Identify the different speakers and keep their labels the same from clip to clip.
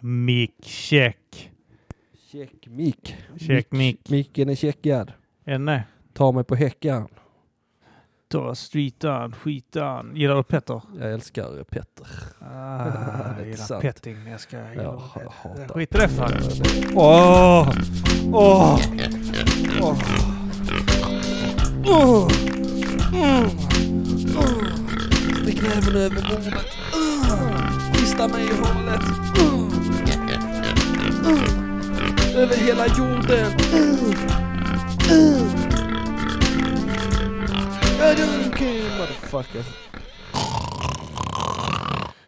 Speaker 1: Mick check.
Speaker 2: Check mick.
Speaker 1: Check mick.
Speaker 2: Micken är checkad.
Speaker 1: Enne.
Speaker 2: Ta mig på häckan.
Speaker 1: Ta streetan, skitan. Gillar du Petter?
Speaker 2: Jag älskar Petter.
Speaker 1: Ah,
Speaker 2: Det
Speaker 1: jag
Speaker 2: är
Speaker 1: gillar
Speaker 2: sant.
Speaker 1: petting. Jag ska... Jag
Speaker 2: Jag
Speaker 1: gillar det.
Speaker 2: hatar
Speaker 1: Jag skiter i det fan. Åh! Åh! Åh! Åh!
Speaker 2: Stick näven över bordet. Uh, Kista mig i hålet. Uh, uh, Över hela jorden. Uh, uh. I don't care, motherfucker.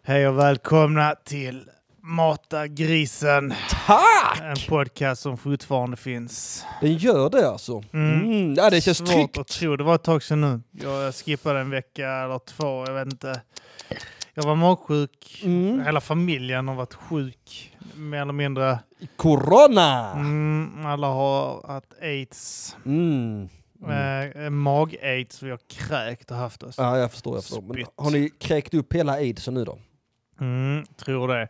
Speaker 1: Hej och välkomna till Mata grisen.
Speaker 2: Tack!
Speaker 1: En podcast som fortfarande finns.
Speaker 2: Den gör det alltså.
Speaker 1: Mm.
Speaker 2: Mm. Ja, det känns
Speaker 1: Svårt
Speaker 2: tryggt.
Speaker 1: att tro. Det var ett tag sedan nu. Jag skippade en vecka eller två. Jag vet inte. Jag var magsjuk.
Speaker 2: Mm.
Speaker 1: Hela familjen har varit sjuk. Mer eller mindre.
Speaker 2: Corona!
Speaker 1: Mm, alla har haft aids.
Speaker 2: Mm. Mm.
Speaker 1: Eh, Mag-aids. Vi har kräkt och haft oss.
Speaker 2: Ja, jag förstår. Jag förstår. Men
Speaker 1: Spytt.
Speaker 2: har ni kräkt upp hela aidsen nu då?
Speaker 1: Mm, tror det.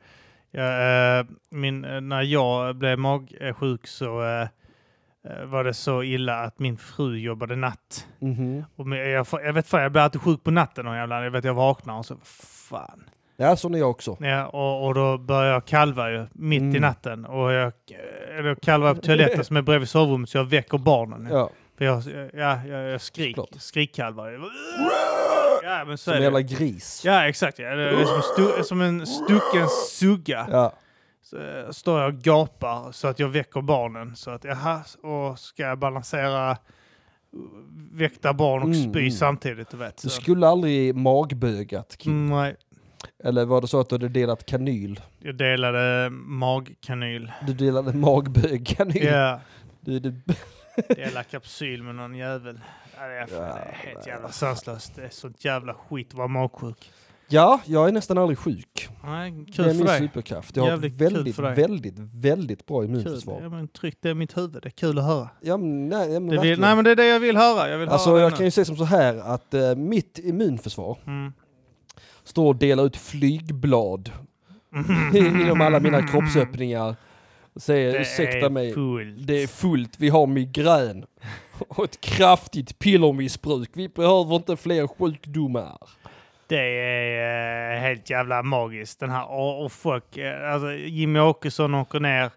Speaker 1: Jag, eh, min, eh, när jag blev magsjuk så eh, eh, var det så illa att min fru jobbade natt.
Speaker 2: Mhm.
Speaker 1: Och men jag, får- jag vet fan, jag blir alltid sjuk på natten och jävlar, jag vet jag vaknar och så fan.
Speaker 2: Ja, sån är jag också.
Speaker 1: Ja, och, och då börjar jag kalva ju mitt i
Speaker 2: Mm.
Speaker 1: natten och jag, eh, jag kalvar på toaletten som är bredvid sovrummet så jag väcker barnen.
Speaker 2: Ja.
Speaker 1: För jag, ja, jag, jag skrik,
Speaker 2: Såklart.
Speaker 1: skrikkalvar. Ja, men så
Speaker 2: Som
Speaker 1: är
Speaker 2: en
Speaker 1: det.
Speaker 2: jävla gris.
Speaker 1: Ja, exakt. Ja. Det är som, stu, som en stucken sugga.
Speaker 2: Ja.
Speaker 1: Så, eh, står jag och gapar så att jag väcker barnen. Så att jaha, och ska jag balansera eh, väckta barn och
Speaker 2: Mm,
Speaker 1: spy
Speaker 2: mm.
Speaker 1: samtidigt, du vet.
Speaker 2: Du
Speaker 1: Så.
Speaker 2: skulle aldrig magbögat, Kim.
Speaker 1: Mm, nej,
Speaker 2: Eller var det så att du hade delat kanyl?
Speaker 1: jag delade magkanyl.
Speaker 2: Du delade magbög-kanyl?
Speaker 1: Ja,
Speaker 2: Du, du...
Speaker 1: delade kapsyl med någon jävel. Ja, det, är, fan- det är helt
Speaker 2: Ja,
Speaker 1: jävla sanslöst. Det är sånt jävla skit att vara magsjuk.
Speaker 2: ja, jag är nästan aldrig sjuk.
Speaker 1: Nej,
Speaker 2: det
Speaker 1: kul
Speaker 2: är
Speaker 1: för
Speaker 2: min
Speaker 1: dig.
Speaker 2: superkraft. Jag har
Speaker 1: Jävligt
Speaker 2: ett
Speaker 1: kul
Speaker 2: väldigt,
Speaker 1: för dig.
Speaker 2: väldigt, väldigt bra
Speaker 1: Kul.
Speaker 2: immunförsvar.
Speaker 1: Ja, men tryck det i mitt huvud. Det är kul att höra.
Speaker 2: Ja, men, nej, men
Speaker 1: Det vill,
Speaker 2: verkligen.
Speaker 1: nej, men det är det jag vill höra. Jag vill
Speaker 2: Alltså
Speaker 1: höra det
Speaker 2: jag
Speaker 1: nu.
Speaker 2: kan ju säga som så här att eh, mitt immunförsvar
Speaker 1: Mm.
Speaker 2: står och delar ut flygblad inom alla mina kroppsöppningar. Och säger Eh, ursäkta mig,
Speaker 1: fullt.
Speaker 2: det är fullt, vi har migrän. Och ett kraftigt pillermissbruk, vi behöver inte fler sjukdomar.
Speaker 1: Det är eh, helt jävla magiskt. Den här, och, och folk, eh, alltså, Jimmy Åkesson åker ner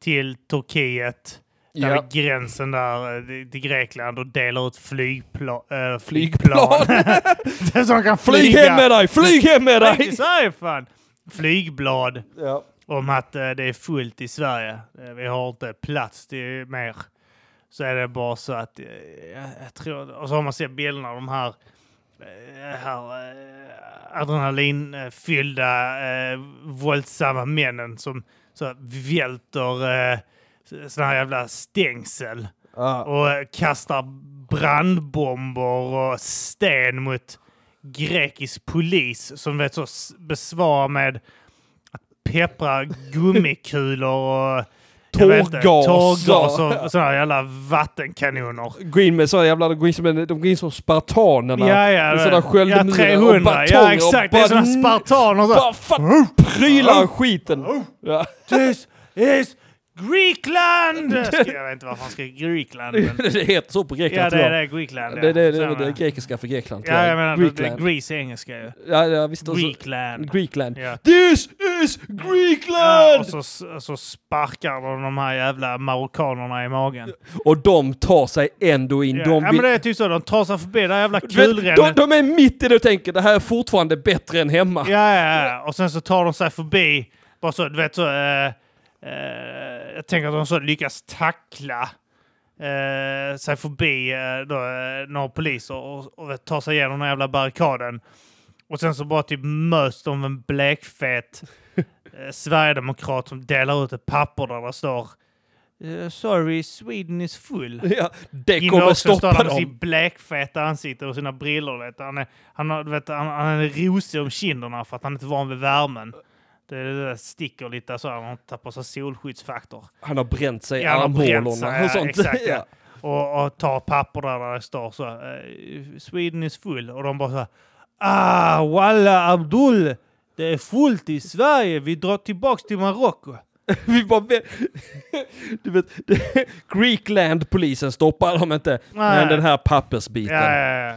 Speaker 1: till Turkiet, där
Speaker 2: Ja.
Speaker 1: vid gränsen där eh, till till Grekland och delar ut flygpla- eh,
Speaker 2: Flygplan!
Speaker 1: flygplan. flygplan. Som kan flyga.
Speaker 2: Flyg hem med dig, flyg hem med
Speaker 1: Flyg till
Speaker 2: dig!
Speaker 1: Sverige fan! Flygblad
Speaker 2: Ja.
Speaker 1: om att eh, det är fullt i Sverige. Eh, vi har inte plats till mer. Så är det bara så att eh, jag, jag tror... Och så har man sett bilderna av de här, eh, här eh, adrenalinfyllda, eh, våldsamma männen som så här välter eh, sådana här jävla stängsel
Speaker 2: Ja.
Speaker 1: och eh, kastar brandbomber och sten mot grekisk polis som vet så s- besvarar med att peppra gummikulor och jag vet inte,
Speaker 2: Tårgas.
Speaker 1: tårgas och sådana jävla vattenkanoner.
Speaker 2: Gå in med sådana jävla, de går in som, en, de går in som spartanerna.
Speaker 1: Ja, ja,
Speaker 2: Med sådana
Speaker 1: ja,
Speaker 2: sköldmurar och
Speaker 1: 300.
Speaker 2: batonger
Speaker 1: Ja, exakt. Det är
Speaker 2: och
Speaker 1: sådana spartaner. Så.
Speaker 2: bara fan, prylar skiten. Ja.
Speaker 1: This is Greekland! Jag vet inte varför han skriker Greekland. Men...
Speaker 2: det heter så på Grekland
Speaker 1: Ja, det
Speaker 2: tror
Speaker 1: är
Speaker 2: jag.
Speaker 1: det. Greekland.
Speaker 2: Det, det, det,
Speaker 1: Samma.
Speaker 2: det är grekiska för Grekland. tror
Speaker 1: Ja, jag menar, det- det-
Speaker 2: Greekland.
Speaker 1: Greece är engelska ju.
Speaker 2: ja, ja, visst. och så-
Speaker 1: Greekland.
Speaker 2: Greekland.
Speaker 1: Ja.
Speaker 2: This is
Speaker 1: Ja,
Speaker 2: Greekland!
Speaker 1: och så, så sparkar de de här jävla marockanerna i magen.
Speaker 2: och de tar sig ändå in.
Speaker 1: Ja,
Speaker 2: De,
Speaker 1: ja,
Speaker 2: vill,
Speaker 1: men det är typ så. De tar sig förbi det här jävla
Speaker 2: Du vet, de,
Speaker 1: kulrännet.
Speaker 2: de är mitt i det och tänker det här är fortfarande bättre än hemma.
Speaker 1: Ja, ja, ja. Och sen så tar de sig förbi. Bara så, du vet så. Eh, eh, jag tänker att de så lyckas tackla eh, sig förbi eh, då, eh, några poliser och, och tar sig igenom den här jävla barrikaden. Och sen så bara typ möts de av en blekfet eh, sverigedemokrat som delar ut ett papper där det står eh, Sorry, Sweden is full.
Speaker 2: Ja, det
Speaker 1: Jimmy
Speaker 2: kommer
Speaker 1: Åkesson står
Speaker 2: stoppa
Speaker 1: där med
Speaker 2: dem.
Speaker 1: sitt blekfeta ansikte och sina brillor. Vet. du. Han, är, han, har, du vet, han, han är rosig om kinderna för att han inte är van vid värmen. Det, det där sticker lite så här, han tappar sig solskyddsfaktor.
Speaker 2: Han har bränt sig i
Speaker 1: Ja, han har bränt sig,
Speaker 2: armhålorna
Speaker 1: ja,
Speaker 2: och sånt.
Speaker 1: exakt, ja.
Speaker 2: ja.
Speaker 1: Och, och tar papper där, där det står så här, eh, Sweden is full. Och de bara så här, ah, walla Abdul, Det är fullt i Sverige, vi drar tillbaks till Marocko.
Speaker 2: Vi bara... vä- Du vet, Greekland-polisen stoppar dem inte. Men den här pappersbiten.
Speaker 1: Ja, ja, ja.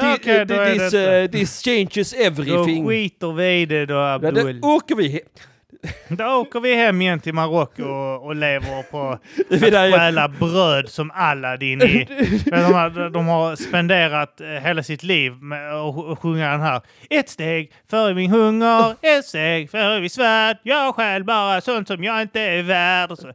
Speaker 2: Thi-
Speaker 1: ja okej, då är
Speaker 2: this,
Speaker 1: det
Speaker 2: eh, this changes
Speaker 1: Då
Speaker 2: everything.
Speaker 1: skiter vi i det då,
Speaker 2: Ja,
Speaker 1: Abdul.
Speaker 2: det åker vi he-
Speaker 1: Då åker vi hem igen till Marocko och, och lever på att
Speaker 2: Det där är-
Speaker 1: stjäla bröd som Aladdin i. Men de, har, de har spenderat eh, hela sitt liv med att sj- att sjunga den här. Ett steg före min hunger, ett steg före min svärd. Jag stjäl bara sånt som jag inte är värd. Och så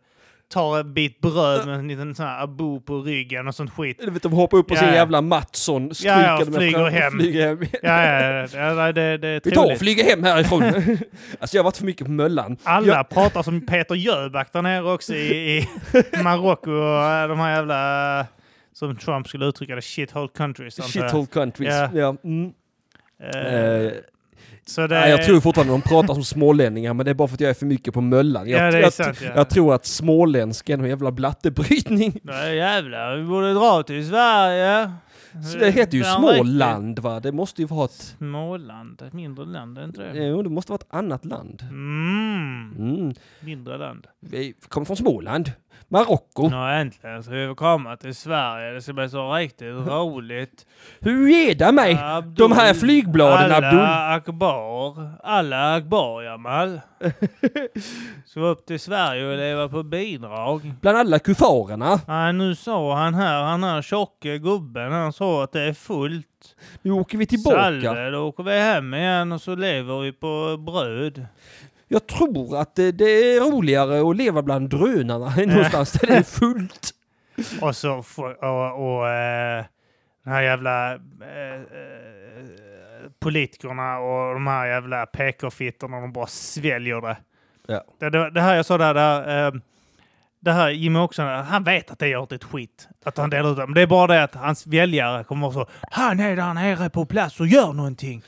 Speaker 1: tar en bit bröd med en liten sån här abo på ryggen och sånt skit.
Speaker 2: Du vet, de hoppar upp på sin
Speaker 1: Ja, ja.
Speaker 2: jävla Mattsson, stryker
Speaker 1: Ja, ja,
Speaker 2: dem
Speaker 1: flyger
Speaker 2: fram och
Speaker 1: hem.
Speaker 2: Flyger hem.
Speaker 1: Ja, ja, ja, ja nej, det, det är
Speaker 2: Vi tar och
Speaker 1: troligt.
Speaker 2: flyger hem härifrån. alltså jag har varit för mycket på Möllan.
Speaker 1: Alla
Speaker 2: Jag,
Speaker 1: pratar som Peter Jöback där nere också i, i Marocko och eh, de här jävla, eh, som Trump skulle uttrycka det, shithole countries. antar jag.
Speaker 2: shithole countries.
Speaker 1: Ja.
Speaker 2: Ja. Mm.
Speaker 1: Eh,
Speaker 2: Eh,
Speaker 1: så det,
Speaker 2: nej, jag tror fortfarande de pratar som smålänningar, men det är bara för att jag är för mycket på Möllan. Jag,
Speaker 1: Ja, det är
Speaker 2: jag,
Speaker 1: sant, ja.
Speaker 2: jag tror att småländsk är någon jävla blattebrytning.
Speaker 1: Nej, jävlar, vi borde dra till Sverige.
Speaker 2: Så det heter ju
Speaker 1: Där riktigt.
Speaker 2: Småland va? Det måste ju vara ett...
Speaker 1: Småland, ett mindre land, är inte det?
Speaker 2: Jo, det måste vara ett annat land.
Speaker 1: Mm,
Speaker 2: Mm.
Speaker 1: mindre land.
Speaker 2: Vi kommer från Småland. Marocko.
Speaker 1: Nå, äntligen ska vi komma till Sverige. Det ska bli så riktigt roligt.
Speaker 2: Hur är det mig?
Speaker 1: Abdul-
Speaker 2: De här flygbladen Abdul.
Speaker 1: Alla Akbar. Alla Akbar, Jamal. Så upp till Sverige och leva på bidrag.
Speaker 2: Bland alla kufarerna.
Speaker 1: Nej, nu sa han här, han här tjocke gubben, han sa att det är fullt.
Speaker 2: Nu åker vi tillbaka.
Speaker 1: Salve, då åker vi hem igen och så lever vi på bröd.
Speaker 2: Jag tror att det, det är roligare att leva bland drönarna än någonstans där det är fullt.
Speaker 1: Och så f- och, och eh, den här jävla eh, eh, politikerna och de här jävla PK-fittorna, de bara sväljer det.
Speaker 2: Ja.
Speaker 1: Det, det, det här jag sa där, det här, eh, det här Jimmy Åkesson, han vet att det gör inte ett skit. Att han delar ut det. Men det är bara det att hans väljare kommer vara så. Han är där nere på plats och gör någonting.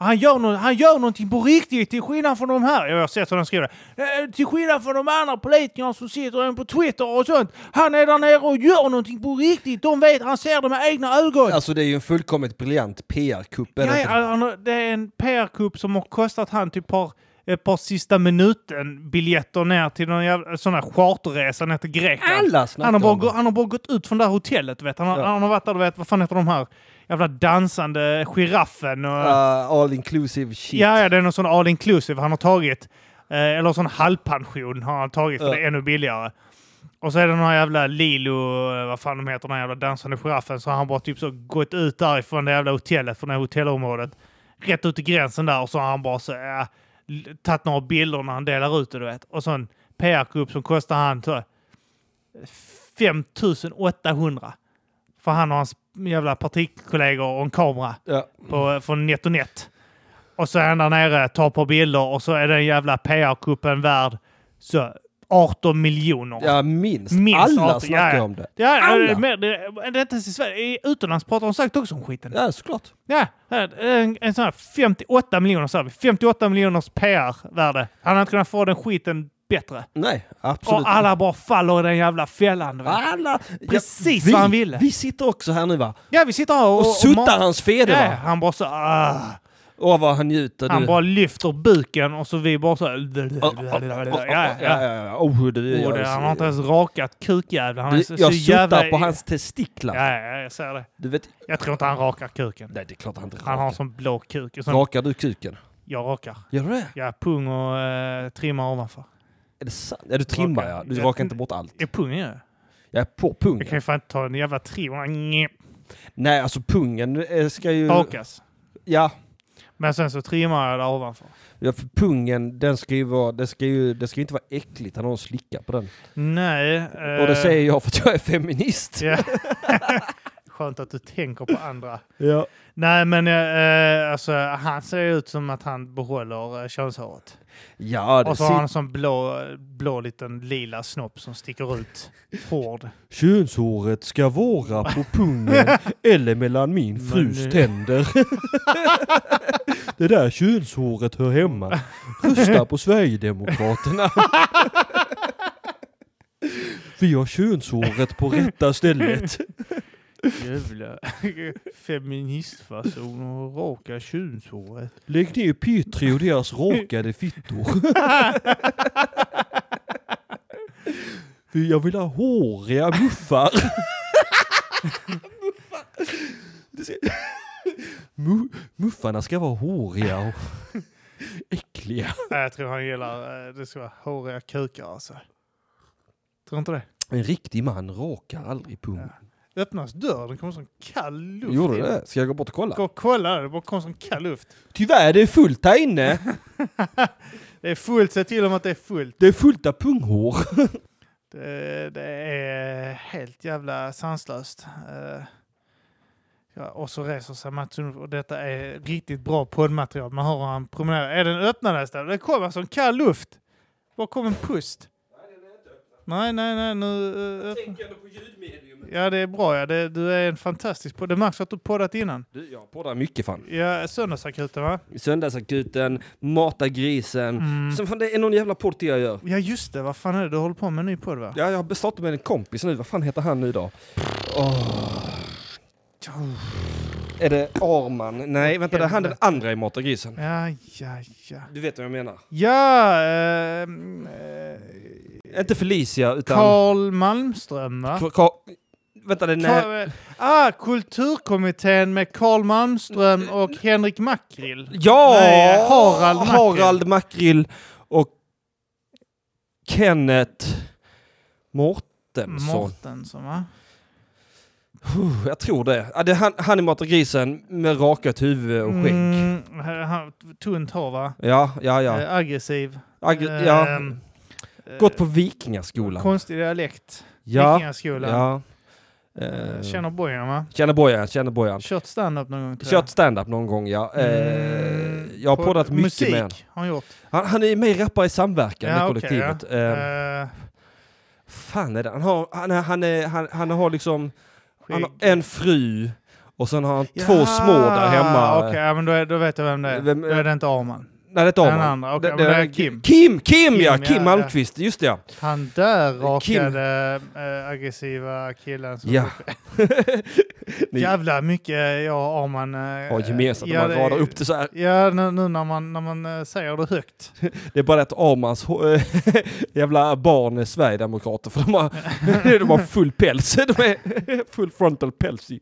Speaker 1: Han gör, no han gör någonting på riktigt till skillnad från de här. Jag har sett hur de skriver det. Eh, Till skillnad från de andra politikerna som sitter på Twitter och sånt. Han är där nere och gör någonting på riktigt. De vet, han ser det med egna ögon.
Speaker 2: Alltså det är ju en fullkomligt briljant PR-kupp. är det
Speaker 1: Ja,
Speaker 2: inte?
Speaker 1: ja, han har- det är en PR-kupp som har kostat han typ par, ett par sista minuten-biljetter ner till någon jävla, sån här charterresa ner till Grekland.
Speaker 2: Alla snackar
Speaker 1: han, har bara,
Speaker 2: om
Speaker 1: gå-
Speaker 2: det.
Speaker 1: han har bara gått ut från det här hotellet, vet. Han, har,
Speaker 2: Ja.
Speaker 1: han har varit där, du vet, vad fan heter de här jävla dansande giraffen och...
Speaker 2: Uh, all inclusive shit.
Speaker 1: Ja, ja, det är någon sån all inclusive han har tagit. Eh, eller sån halvpension har han tagit för
Speaker 2: Ja.
Speaker 1: det är ännu billigare. Och så är det den här jävla Lilo, eh, vad fan de heter, den här jävla dansande giraffen. Så har han bara typ så gått ut därifrån det jävla hotellet, från det här hotellområdet. Rätt ut i gränsen där och så har han bara så, äh, tagit några bilder när han delar ut det, du vet. Och så en PR-grupp som kostar han så, 5800. För han och hans jävla partikollegor och en kamera
Speaker 2: Ja.
Speaker 1: på, från NetOnNet. Och så är han där nere, tar på bilder och så är den jävla PR-kuppen värd så 18 miljoner.
Speaker 2: Ja, minst.
Speaker 1: Minst
Speaker 2: alla
Speaker 1: 18,
Speaker 2: snackar
Speaker 1: ja, ja.
Speaker 2: om det.
Speaker 1: Det är,
Speaker 2: Alla.
Speaker 1: det är mer, det är, det är inte ens i Sverige. I Utomlands pratar de säkert också om skiten.
Speaker 2: Ja, såklart.
Speaker 1: Ja, här, en, en sån här 58 miljoner, sa vi. 58 miljoners PR-värde. Han hade inte kunnat få den skiten bättre.
Speaker 2: Nej, absolut.
Speaker 1: Och alla bara faller i den jävla fällan. du vet.
Speaker 2: Alla-
Speaker 1: Precis
Speaker 2: vi,
Speaker 1: vad han ville.
Speaker 2: Vi sitter också här nu va?
Speaker 1: Ja, vi sitter här och...
Speaker 2: Och,
Speaker 1: ma-
Speaker 2: suttar hans fede
Speaker 1: Ja,
Speaker 2: va?
Speaker 1: han bara så... ah.
Speaker 2: Åh vad han njuter
Speaker 1: Han
Speaker 2: du.
Speaker 1: bara lyfter buken och så vi bara så...
Speaker 2: Åh, åh, åh, åh, åh,
Speaker 1: Ja, ja.
Speaker 2: ja, ja, ja. Åh, det är-
Speaker 1: Och det,
Speaker 2: jag-
Speaker 1: han har inte ens rakat kukjävlar. Han är
Speaker 2: Du,
Speaker 1: så, så
Speaker 2: jag
Speaker 1: jävla...
Speaker 2: suttar på hans testiklar.
Speaker 1: Ja, ja, jag ser det.
Speaker 2: Du vet,
Speaker 1: Jag tror inte han rakar kuken.
Speaker 2: nej det är klart han inte
Speaker 1: Han har
Speaker 2: rakar.
Speaker 1: som blå kuk. Och Sen,
Speaker 2: Rakar du kuken?
Speaker 1: jag rakar.
Speaker 2: Gör du det?
Speaker 1: Ja, pung och eh, trimmar ovanför.
Speaker 2: Är det sant? Ja, du trimmar
Speaker 1: Rakar.
Speaker 2: ja. Du
Speaker 1: Jag-
Speaker 2: rakar inte bort allt.
Speaker 1: Det är pung gör jag.
Speaker 2: Jag är på
Speaker 1: Jag kan
Speaker 2: pungen.
Speaker 1: ju fan inte ta en jävla trim. Nje,
Speaker 2: Nej, alltså pungen eh, ska ju...
Speaker 1: Rakas.
Speaker 2: Ja.
Speaker 1: Men sen så trimmar jag där ovanför.
Speaker 2: Ja, för pungen, den ska ju vara, det ska ju, det ska ju inte vara äckligt när någon slickar på den.
Speaker 1: Nej. eh,
Speaker 2: Och det säger jag för att jag är feminist.
Speaker 1: ja. Skönt att du tänker på andra.
Speaker 2: Ja.
Speaker 1: Nej, men eh, eh, alltså, han ser ju ut som att han behåller eh, könshåret.
Speaker 2: Ja, det
Speaker 1: Och så har han
Speaker 2: ser...
Speaker 1: en sån blå, blå liten lila snopp som sticker ut. Hård.
Speaker 2: Könshåret ska vara på pungen eller mellan min
Speaker 1: Men
Speaker 2: frus
Speaker 1: nu-
Speaker 2: tänder. det där könshåret hör hemma. Rösta på Sverigedemokraterna. Vi har könshåret på rätta stället.
Speaker 1: Jävla feministfason och raka könshåret.
Speaker 2: Lägg ner Petri och deras rakade fittor. För Jag vill ha håriga muffar. Det ska- Mu- Muffarna ska vara håriga och äckliga.
Speaker 1: Nej, jag tror han gillar eh, det ska vara håriga kukar alltså. Tror inte det?
Speaker 2: En riktig man rakar aldrig pungen.
Speaker 1: Det öppnas dörren, det kommer sån kall luft.
Speaker 2: Gjorde
Speaker 1: in.
Speaker 2: det? Ska jag gå bort och kolla?
Speaker 1: Gå och kolla där, det bara kom sån kall luft.
Speaker 2: Tyvärr, det är fullt här inne.
Speaker 1: Det är fullt, se till om att det är fullt.
Speaker 2: Det är fullt av punghår.
Speaker 1: Det, eh, det är helt jävla sanslöst. Eh, Ja, och så reser sig Mats Sundin- och detta är riktigt bra poddmaterial. Man hör hur han promenerar. Är den öppnad nästan? Det kommer som kall luft. Var kom en pust? Nej, nej, nej, nu... eh, öppna.
Speaker 2: ändå på ljudmedium.
Speaker 1: Ja, det är bra. Ja. Det, du är en fantastisk podd. Det märks att du poddat innan.
Speaker 2: Du, jag poddar mycket fan.
Speaker 1: Ja, Söndagsakuten, va?
Speaker 2: Söndagsakuten, mata grisen.
Speaker 1: Mm.
Speaker 2: Sen fan, det är någon jävla podd till jag gör.
Speaker 1: Ja, just det. Vad fan är det? Du håller på med en ny podd, va?
Speaker 2: Ja, jag har bestått med en kompis nu. Vad fan heter han nu då? Åh. Är det Arman? Nej, vänta, det är han den andra i Mata grisen.
Speaker 1: Ja, ja, ja.
Speaker 2: Du vet vad jag menar.
Speaker 1: Ja, ehm, eh,
Speaker 2: Inte Felicia, utan...
Speaker 1: Karl Malmström, va?
Speaker 2: Ka- Ka- vänta, det är när...
Speaker 1: Ka- eh, ah, Kulturkommittén med Karl
Speaker 2: Mm.
Speaker 1: Malmström och Henrik Mackrill.
Speaker 2: Ja!
Speaker 1: Nej, Harald Mackrill.
Speaker 2: Harald Mackrill och Kenneth Mortensson.
Speaker 1: Mortensson, va?
Speaker 2: Puh, Jag tror det. Ja, det är han, han i Mata grisen med rakat huvud och skägg.
Speaker 1: Mm, här- han- tunt hår, va?
Speaker 2: Ja, ja, ja.
Speaker 1: Eh, aggressiv.
Speaker 2: Agg- ja.
Speaker 1: ehm, Eh,
Speaker 2: Gått på Vikingaskolan.
Speaker 1: Konstig dialekt.
Speaker 2: Ja,
Speaker 1: Vikingaskolan.
Speaker 2: ja.
Speaker 1: Eh,
Speaker 2: Eh,
Speaker 1: Känner Bojan, va?
Speaker 2: Känner Bojan, känner Bojan.
Speaker 1: Kört stand-up någon gång, tror jag.
Speaker 2: Kört stand-up någon gång, ja. Eh,
Speaker 1: Mm,
Speaker 2: Jag har
Speaker 1: på-
Speaker 2: poddat mycket
Speaker 1: musik
Speaker 2: med honom.
Speaker 1: har han gjort.
Speaker 2: Han, han är med i Rappare i samverkan med
Speaker 1: Ja, okej,
Speaker 2: kollektivet. Eh,
Speaker 1: Eh,
Speaker 2: fan är det? Han har, han, är- han, är, han, han har liksom han har
Speaker 1: skit.
Speaker 2: en fru och sen har han två små där hemma.
Speaker 1: Okej, ja, men då, är- då vet jag vem det är.
Speaker 2: Vem-
Speaker 1: då är det inte Arman.
Speaker 2: Nej, det är
Speaker 1: Den
Speaker 2: Arman.
Speaker 1: andra, okej, men det är Kim.
Speaker 2: Kim, Kim, ja!
Speaker 1: Kim,
Speaker 2: Kim
Speaker 1: ja,
Speaker 2: Malmqvist, just det ja.
Speaker 1: Han där
Speaker 2: Kim.
Speaker 1: rakade äh, aggressiva killen. Som
Speaker 2: Ja. Ni
Speaker 1: Jävla mycket jag och Arman... Äh,
Speaker 2: har gemensamt,
Speaker 1: ja,
Speaker 2: man radar
Speaker 1: det-
Speaker 2: upp det så här.
Speaker 1: Ja, nu, nu när man, när man eh, säger det högt.
Speaker 2: Det är bara att Armans eh, jävla barn är sverigedemokrater för de har, de har full päls. De är full frontal päls. i-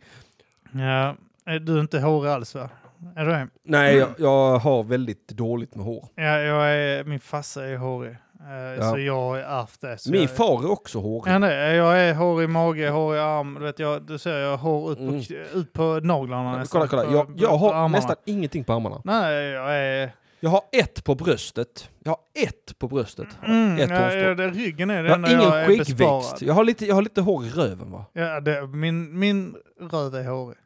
Speaker 1: Ja, eh, du är inte hårig alls va? Är du det?
Speaker 2: Nej, jag, jag har väldigt dåligt med hår.
Speaker 1: Ja, jag är, min farsa är hårig. eh, Så jag har ärvt det. Så
Speaker 2: Min
Speaker 1: jag,
Speaker 2: far är också hårig.
Speaker 1: Ja, nej, jag är hårig mage, hårig arm. Du, vet, jag, du ser, jag har hår ut på,
Speaker 2: Mm.
Speaker 1: kn- ut på naglarna nästan.
Speaker 2: Kolla, kolla.
Speaker 1: På,
Speaker 2: Jag,
Speaker 1: på-
Speaker 2: jag
Speaker 1: på
Speaker 2: har
Speaker 1: armarna.
Speaker 2: nästan ingenting på armarna.
Speaker 1: Nej, jag är...
Speaker 2: Jag har ett på bröstet. Jag har ett på bröstet.
Speaker 1: Mm,
Speaker 2: ett
Speaker 1: ja,
Speaker 2: hårstrå.
Speaker 1: ja, det, ryggen är det
Speaker 2: Jag
Speaker 1: enda
Speaker 2: har ingen
Speaker 1: jag är
Speaker 2: skäggväxt.
Speaker 1: besparad.
Speaker 2: Jag har, lite, jag har lite hår i röven va?
Speaker 1: Ja, det, min, min röv är hårig.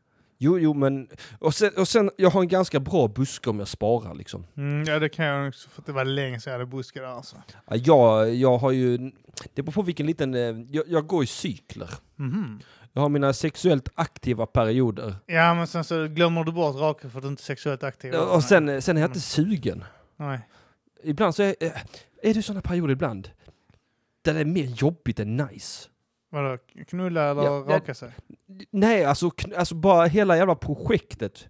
Speaker 2: Jo, jo men... Och sen, och sen jag har en ganska bra buske om jag sparar liksom.
Speaker 1: Mm, ja, det kan jag också, för att det var länge sedan jag hade buskar alltså.
Speaker 2: Ja, Jag, jag har ju... Det beror på vilken liten... eh, Jag, jag går i cykler.
Speaker 1: Mhm.
Speaker 2: Jag har mina sexuellt aktiva perioder.
Speaker 1: Ja, men sen så glömmer du bort raka för att du inte är Mm. sexuellt aktiv.
Speaker 2: Och sen, sen är jag inte sugen.
Speaker 1: Nej.
Speaker 2: Ibland så är... eh, Är det sådana perioder ibland? Där det är mer jobbigt än nice.
Speaker 1: Vadå, knulla eller
Speaker 2: Ja, det-
Speaker 1: raka sig?
Speaker 2: Nej, alltså, kn- alltså bara hela jävla projektet.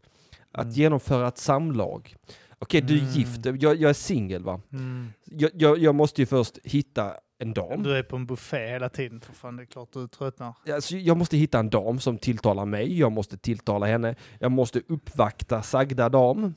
Speaker 2: Att
Speaker 1: Mm.
Speaker 2: genomföra ett samlag. Okej, du är
Speaker 1: Mm.
Speaker 2: gift. Jag, jag är singel va?
Speaker 1: Mm.
Speaker 2: Jag, jag, jag måste ju först hitta en dam.
Speaker 1: Du är på en buffé hela tiden, för fan det är klart du tröttnar.
Speaker 2: Alltså, jag måste hitta en dam som tilltalar mig, jag måste tilltala henne, jag måste uppvakta sagda dam,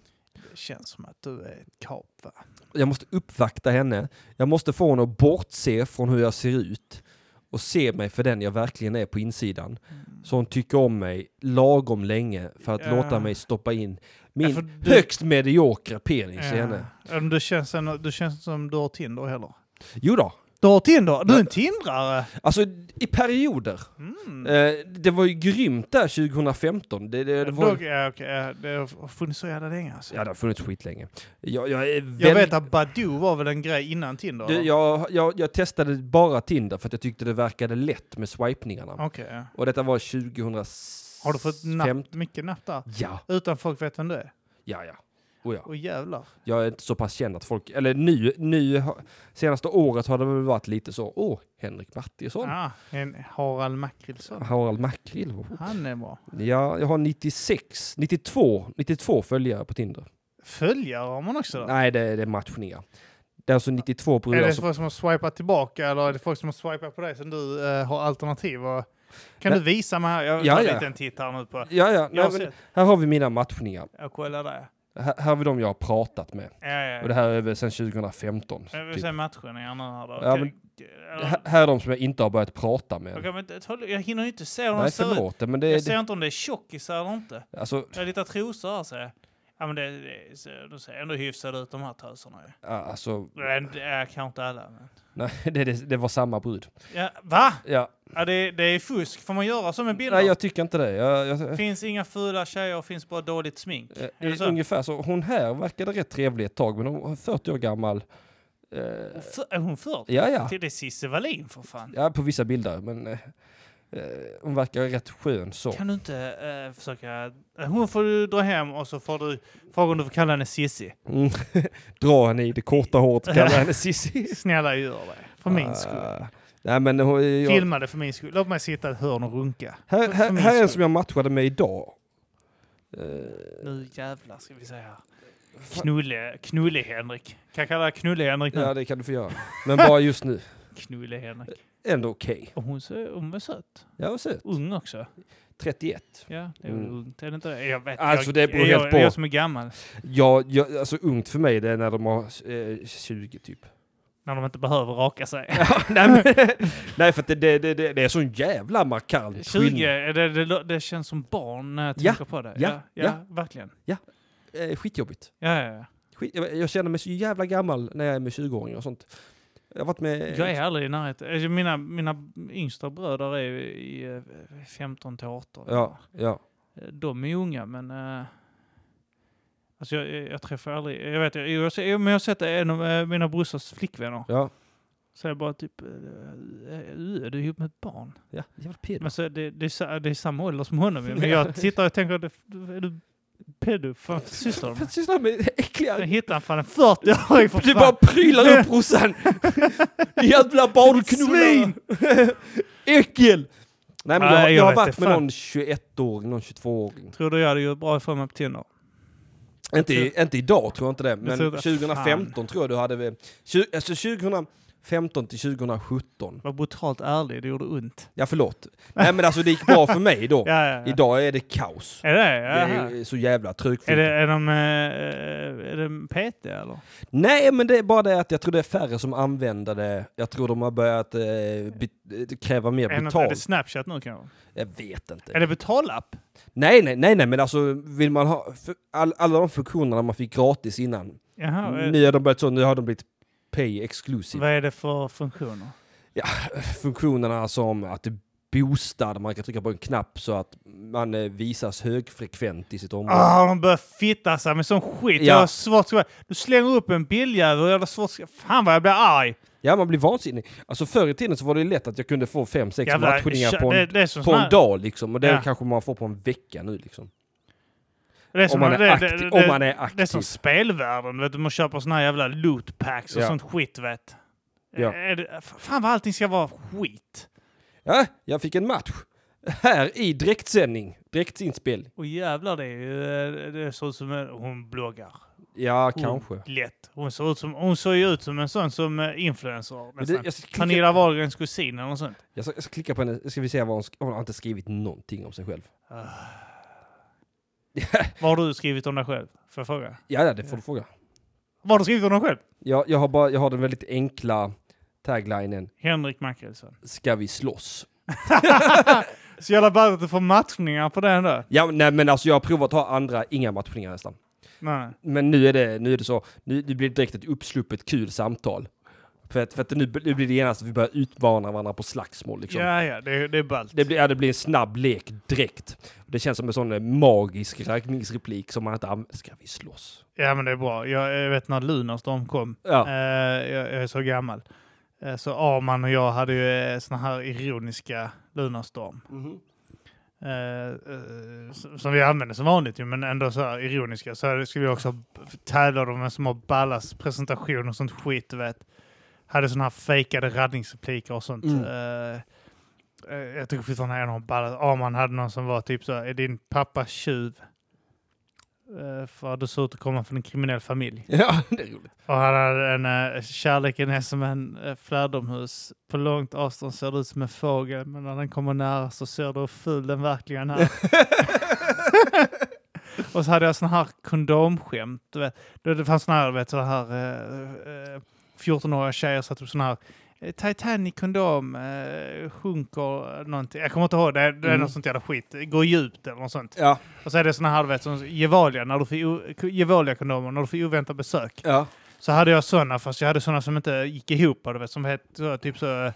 Speaker 1: Det känns som att du är ett kap va?
Speaker 2: jag måste uppvakta henne, jag måste få henne att bortse från hur jag ser ut och se mig för den jag verkligen är på insidan. Så hon tycker om mig lagom länge för att
Speaker 1: Mm. Ja.
Speaker 2: låta mig stoppa in min
Speaker 1: Ja, för du-
Speaker 2: högst mediokra penis i henne.
Speaker 1: Ja, men Du, känns en, du känns som du har Tinder heller.
Speaker 2: Jo då,
Speaker 1: Du har Tinder? Du är en tindrare!
Speaker 2: alltså i perioder.
Speaker 1: Mm.
Speaker 2: Eh, det var ju grymt där 2015. Det, det, det, var...
Speaker 1: Dog, ja, okej, ja, det har funnits så jävla länge alltså.
Speaker 2: Ja, det har funnits skitlänge. Jag, jag, är väl...
Speaker 1: Jag vet att Badoo var väl en grej innan Tinder?
Speaker 2: Du,
Speaker 1: eller?
Speaker 2: jag, jag, jag testade bara Tinder för att jag tyckte det verkade lätt med swipningarna.
Speaker 1: Okej, ja.
Speaker 2: Och detta var 2015.
Speaker 1: Har du fått napp, mycket napp där?
Speaker 2: Ja,
Speaker 1: Utan folk vet vem du är?
Speaker 2: ja, ja. Oh ja.
Speaker 1: Och jävlar.
Speaker 2: Jag är inte så pass känd att folk, eller nu, nu har- senaste året har det väl varit lite så, åh, Henrik Mattisson,
Speaker 1: Ah, en Harald Mackrilsson.
Speaker 2: Harald Makrill. oh.
Speaker 1: Han är bra.
Speaker 2: Ja, jag har 96, 92, 92 följare på Tinder.
Speaker 1: Följare har man också då?
Speaker 2: Nej, det, det är matchningar. Det är alltså 92
Speaker 1: Är
Speaker 2: brudar
Speaker 1: det
Speaker 2: som...
Speaker 1: folk som har swipat tillbaka eller är det folk som har swipat på dig som du eh, har alternativ? Och... Kan
Speaker 2: Nej.
Speaker 1: du visa mig? här? Jag
Speaker 2: Ja,
Speaker 1: tar
Speaker 2: ja.
Speaker 1: lite en titt här nu på...
Speaker 2: Ja, ja,
Speaker 1: Jag,
Speaker 2: nej,
Speaker 1: har
Speaker 2: men,
Speaker 1: sett,
Speaker 2: här har vi mina matchningar.
Speaker 1: jag kollar där.
Speaker 2: Här, här har vi de jag har pratat med.
Speaker 1: Ja, ja.
Speaker 2: Och det här är väl sedan 2015.
Speaker 1: jag vill
Speaker 2: typ.
Speaker 1: se matchningar nu här då.
Speaker 2: Ja,
Speaker 1: Ja,
Speaker 2: men- Här- Här är de som jag inte har börjat prata med.
Speaker 1: jag, inte, ta- jag hinner ju inte se hur de
Speaker 2: Nej,
Speaker 1: ser ut.
Speaker 2: förlåt. Men
Speaker 1: Jag
Speaker 2: det, det,
Speaker 1: ser inte om det är tjockisar eller inte.
Speaker 2: alltså,
Speaker 1: Jag har lite trosor här ser jag. Ja, men det, det ser, de ser ändå hyfsade ut de här töserna ju.
Speaker 2: ja, alltså,
Speaker 1: Men det är kanske inte alla. Men...
Speaker 2: nej, det, det, det var samma brud.
Speaker 1: Ja, va?
Speaker 2: Ja,
Speaker 1: Ja, det, det är fusk. Får man göra så med bilder?
Speaker 2: nej, jag tycker inte det. Jag, jag,
Speaker 1: Finns inga fula tjejer, finns bara dåligt smink.
Speaker 2: Eh,
Speaker 1: Är det så?
Speaker 2: Ungefär så. Hon här verkade rätt trevlig ett tag, men hon var 40 år gammal. Eh,
Speaker 1: F- Är hon 40?
Speaker 2: ja, ja.
Speaker 1: Det är Cissi Wallin för fan.
Speaker 2: Ja, på vissa bilder, men eh, eh, hon verkar rätt skön så.
Speaker 1: Kan du inte eh, försöka... eh, Hon får du dra hem och så får du... Frågan du får kalla henne Cissi.
Speaker 2: Mm. Dra henne i det korta håret och kalla henne Cissi.
Speaker 1: Snälla gör det. För min skull.
Speaker 2: Ah, nej, men hon, jag,
Speaker 1: Filma det för min skull. Låt mig sitta i ett hörn och runka.
Speaker 2: här,
Speaker 1: för
Speaker 2: här,
Speaker 1: min
Speaker 2: här är en
Speaker 1: skull.
Speaker 2: som jag matchade med idag. Eh,
Speaker 1: Nu jävlar ska vi se här. Knulle, knulle Henrik. Kan jag kalla knulle Henrik nu?
Speaker 2: ja, det kan du få göra. Men bara just nu.
Speaker 1: Knulle Henrik.
Speaker 2: Ändå okej.
Speaker 1: Och hon, ser, hon är söt.
Speaker 2: Ja, vad söt.
Speaker 1: Ung också.
Speaker 2: 31.
Speaker 1: Ja, det är väl
Speaker 2: Mm.
Speaker 1: ungt. Är det inte det? Jag vet.
Speaker 2: Alltså,
Speaker 1: jag,
Speaker 2: det beror
Speaker 1: jag,
Speaker 2: helt på.
Speaker 1: jag, jag som är gammal.
Speaker 2: Ja, jag, alltså ungt för mig det är när de har eh, 20 typ.
Speaker 1: När de inte behöver raka sig.
Speaker 2: Ja, nej, men, nej, för att det, det, det, det det är sån jävla markant
Speaker 1: 20,
Speaker 2: skillnad.
Speaker 1: är det, det, lå- det känns som barn när jag
Speaker 2: Ja,
Speaker 1: tänker på det.
Speaker 2: ja,
Speaker 1: ja,
Speaker 2: ja.
Speaker 1: verkligen.
Speaker 2: Eh, skitjobbigt.
Speaker 1: Ja, ja, ja.
Speaker 2: Skit, jag, jag känner mig så jävla gammal när jag är med 20-åringar och sånt. Eh, Jag har varit med...
Speaker 1: Jag är aldrig i närheten. Alltså, Mina, mina yngsta bröder är ju i eh, 15 till 18.
Speaker 2: Ja, ja.
Speaker 1: Eh, De är unga, men... eh, Alltså jag, jag jag träffar aldrig... Jag vet, jag, jag, ser- men jag har sett en av eh, mina brorsas flickvänner.
Speaker 2: Ja,
Speaker 1: Så jag bara typ... eh, eh, Du är ihop med ett barn.
Speaker 2: ja. Jävla pedo.
Speaker 1: Men så, det, det, är, sa- det är samma ålder som honom. ju. Men
Speaker 2: Ja.
Speaker 1: jag tittar och tänker, är du pedo? Fan, sysslar du med?
Speaker 2: Vad sysslar du med? Äckliga...
Speaker 1: Jag hittade fan en 40-åring för
Speaker 2: Du
Speaker 1: fan.
Speaker 2: bara prylar upp brorsan! jävla barnknullare!
Speaker 1: Svin!
Speaker 2: Äckel! Nej men
Speaker 1: Nej,
Speaker 2: jag,
Speaker 1: jag
Speaker 2: jag har
Speaker 1: vet
Speaker 2: varit
Speaker 1: det,
Speaker 2: med
Speaker 1: fan.
Speaker 2: någon 21-åring, någon 22-åring.
Speaker 1: Tror du jag hade gjort bra ifrån mig på Tinder?
Speaker 2: Inte, i- inte idag tror jag inte det,
Speaker 1: Jag
Speaker 2: men
Speaker 1: tror det.
Speaker 2: 2015 tror jag du hade... vi- tju- Alltså 2015 till 2017
Speaker 1: Var brutalt ärlig, det gjorde ont.
Speaker 2: Ja, förlåt. Nej, men alltså det gick bra för mig då.
Speaker 1: Ja, ja, ja.
Speaker 2: Idag är det kaos.
Speaker 1: Är det?
Speaker 2: Det
Speaker 1: Jaha.
Speaker 2: är ju så jävla
Speaker 1: Är
Speaker 2: trögfyllt.
Speaker 1: det, är de, eh, är de PT eller?
Speaker 2: Nej, men det är bara det att jag tror det är färre som använder det. Jag tror de har börjat eh, be- eh, kräva mer
Speaker 1: Är, det något- är det
Speaker 2: betalt.
Speaker 1: Snapchat nu kanske?
Speaker 2: Jag vet inte.
Speaker 1: Är det betalapp?
Speaker 2: Nej, nej, nej, nej, men alltså vill man ha för- all, alla de funktionerna man fick gratis innan.
Speaker 1: Jaha, eh,
Speaker 2: Nu har de börjat så, nu har de blivit pay exclusive.
Speaker 1: vad är det för funktioner?
Speaker 2: Funktionerna som att boosta, där man kan trycka på en knapp så att man eh, visas högfrekvent i sitt område.
Speaker 1: Ah, de börjar fitta sig med sån skit.
Speaker 2: Ja.
Speaker 1: Jag har svårt att... Du slänger upp en bildjävel och jag har svårt att... Fan vad jag blir arg!
Speaker 2: Ja, man blir vansinnig. Alltså förr i tiden så var det ju lätt att jag kunde få fem, sex
Speaker 1: Jävla-
Speaker 2: matchningar på
Speaker 1: det,
Speaker 2: en,
Speaker 1: det är som
Speaker 2: på
Speaker 1: sån
Speaker 2: en
Speaker 1: här-
Speaker 2: dag liksom. Och det
Speaker 1: Ja.
Speaker 2: kanske man får på en vecka nu liksom.
Speaker 1: det är
Speaker 2: Om
Speaker 1: som-
Speaker 2: man är
Speaker 1: det- det-
Speaker 2: aktiv.
Speaker 1: det-
Speaker 2: Om man är
Speaker 1: Det är
Speaker 2: aktiv.
Speaker 1: som spelvärlden, vet du. Man köper såna här jävla lootpacks och
Speaker 2: Ja.
Speaker 1: sånt skit, vet.
Speaker 2: Ja.
Speaker 1: Är det, fan vad allting ska vara skit.
Speaker 2: Ja, jag fick en match. Här i direktsändning. Direktinspel.
Speaker 1: Och jävlar det är ju... eh, Det ser ut som en, hon bloggar.
Speaker 2: Ja,
Speaker 1: Hon,
Speaker 2: kanske.
Speaker 1: Lätt. Hon ser, ut som, hon ser ju ut som en sån som eh, influencer
Speaker 2: Men det,
Speaker 1: nästan.
Speaker 2: jag, ska klicka,
Speaker 1: Pernilla Wahlgrens kusin eller något sånt.
Speaker 2: jag, ska, jag ska klicka på henne, ska vi se vad hon, sk- hon har inte skrivit någonting om sig själv.
Speaker 1: Vad har du skrivit om dig själv? Får jag fråga?
Speaker 2: Ja, ja det får du fråga.
Speaker 1: Vad har du skrivit om dig själv?
Speaker 2: Jag, jag, har bara, jag har den väldigt enkla taglinen,
Speaker 1: Henrik Mackelsson.
Speaker 2: ska vi slåss?
Speaker 1: Så jävla ballt att du får matchningar på den då.
Speaker 2: Ja, nej men alltså jag har provat att ha andra, inga matchningar nästan.
Speaker 1: Nej.
Speaker 2: Men nu är det, nu är det så, nu, nu blir det direkt ett uppsluppet kul samtal. För att, för att nu, nu blir det genast att vi börjar utmana varandra på slagsmål liksom.
Speaker 1: Ja, ja, det, det är ballt.
Speaker 2: Det blir, ja, det blir en snabb lek direkt. Det känns som en sån eh, magisk raggningsreplik som man inte använder. Ska vi slåss?
Speaker 1: Ja, men det är bra. Jag, jag vet när Lunarstorm kom.
Speaker 2: Ja.
Speaker 1: Eh, jag, jag är så gammal.
Speaker 2: Mm-hmm.
Speaker 1: Eh, så Arman och jag hade ju eh, såna här ironiska Lunarstorm. eh, eh, s- som vi använder som vanligt, ju, men ändå så här ironiska, så här skulle vi också tävla om vem som har ballast presentation och sånt skit, du vet. Hade såna här fejkade raddningsrepliker och sånt.
Speaker 2: Mm.
Speaker 1: Eh, eh, jag tycker fortfarande han har ballast. Arman hade någon som var typ så här, är din pappa tjuv? Eh, för du ser ut att komma från en kriminell familj.
Speaker 2: Ja, det är roligt.
Speaker 1: Och han hade en eh, kärleken är som en uh, fladdermus. På långt avstånd ser det ut som en fågel, men när den kommer nära så ser du hur ful den verkligen är. och så hade jag såna här kondomskämt. Du vet. Det, det fanns såna här, du vet, så här eh, eh, 14-åriga tjejer satte upp såna här eh, Titanic kondom eh, sjunker någonting. Jag kommer inte ihåg, det, det är
Speaker 2: Mm.
Speaker 1: något sånt jävla skit. Gå djupt eller något sånt.
Speaker 2: Ja,
Speaker 1: Och så är det såna här, du vet, som Gevalia, när du får o- Gevalia-kondomer, när du får oväntat besök.
Speaker 2: ja.
Speaker 1: Så hade jag sådana, fast jag hade sådana som inte gick ihop. Du vet, som hette så, typ så...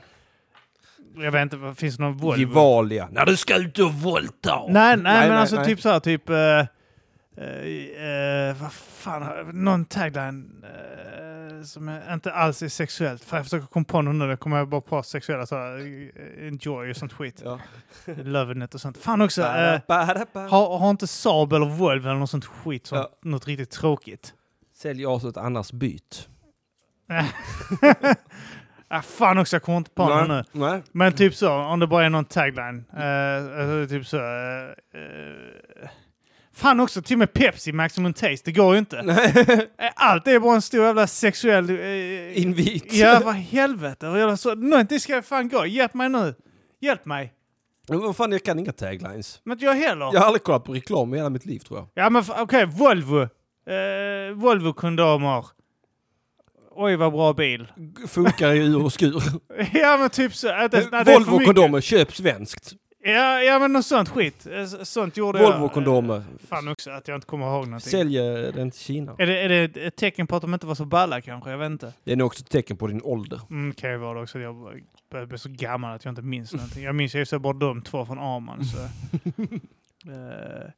Speaker 1: Jag vet inte, vad- finns det någon Volvo?
Speaker 2: Gevalia. När du ska ut och våldta!
Speaker 1: Nej, nej, men
Speaker 2: nej,
Speaker 1: alltså
Speaker 2: nej.
Speaker 1: typ så här, typ... eh, eh, eh, vad fan, har- någon tagline eh, som är- inte alls är sexuellt. Fan, jag försöker komma på någon nu, jag kommer jag bara på sexuella så här, eh, enjoy och sånt skit.
Speaker 2: Ja.
Speaker 1: Loving it och sånt. Fan också, eh,
Speaker 2: Ba-da-ba-da-ba.
Speaker 1: har, har inte Saab eller Volvo eller något sånt skit, sånt, något riktigt tråkigt?
Speaker 2: Sälj as åt annars byt.
Speaker 1: Ah, fan också, jag kommer inte på någon nu.
Speaker 2: nej.
Speaker 1: Men typ så, om det bara är någon tagline. Eh, alltså, typ så... eh, eh, fan också, till och med Pepsi Maximum Taste, det går ju inte. Eh, Allt är bara en stor jävla sexuell... eh,
Speaker 2: Invit.
Speaker 1: ja, vad helvete. vad jävla Så, någonting ska fan gå. Hjälp mig nu. Hjälp mig.
Speaker 2: Men vad fan, jag kan inga taglines.
Speaker 1: Men inte jag heller.
Speaker 2: Jag har aldrig kollat på reklam i hela mitt liv tror jag.
Speaker 1: Ja, men f- okej, Volvo. Eh, Volvo-kondomer. Oj, vad bra bil.
Speaker 2: G- Funkar i ur och skur.
Speaker 1: ja, men typ så. Att det, nej, det är för mycket.
Speaker 2: Volvo-kondomer, köp svenskt.
Speaker 1: Ja, ja, men något sånt skit. Eh, s- Sånt gjorde jag.
Speaker 2: Volvo-kondomer,
Speaker 1: Fan också att jag inte kommer ihåg någonting.
Speaker 2: sälj eh, den till Kina.
Speaker 1: Är det, är det ett tecken på att de inte var så balla kanske? Jag vet inte.
Speaker 2: Det är nog också ett tecken på din ålder.
Speaker 1: Mm, kan ju vara det också. att Jag börjar bli så gammal att jag inte minns någonting. Jag minns ju så bara de två från Arman. Så. Eh,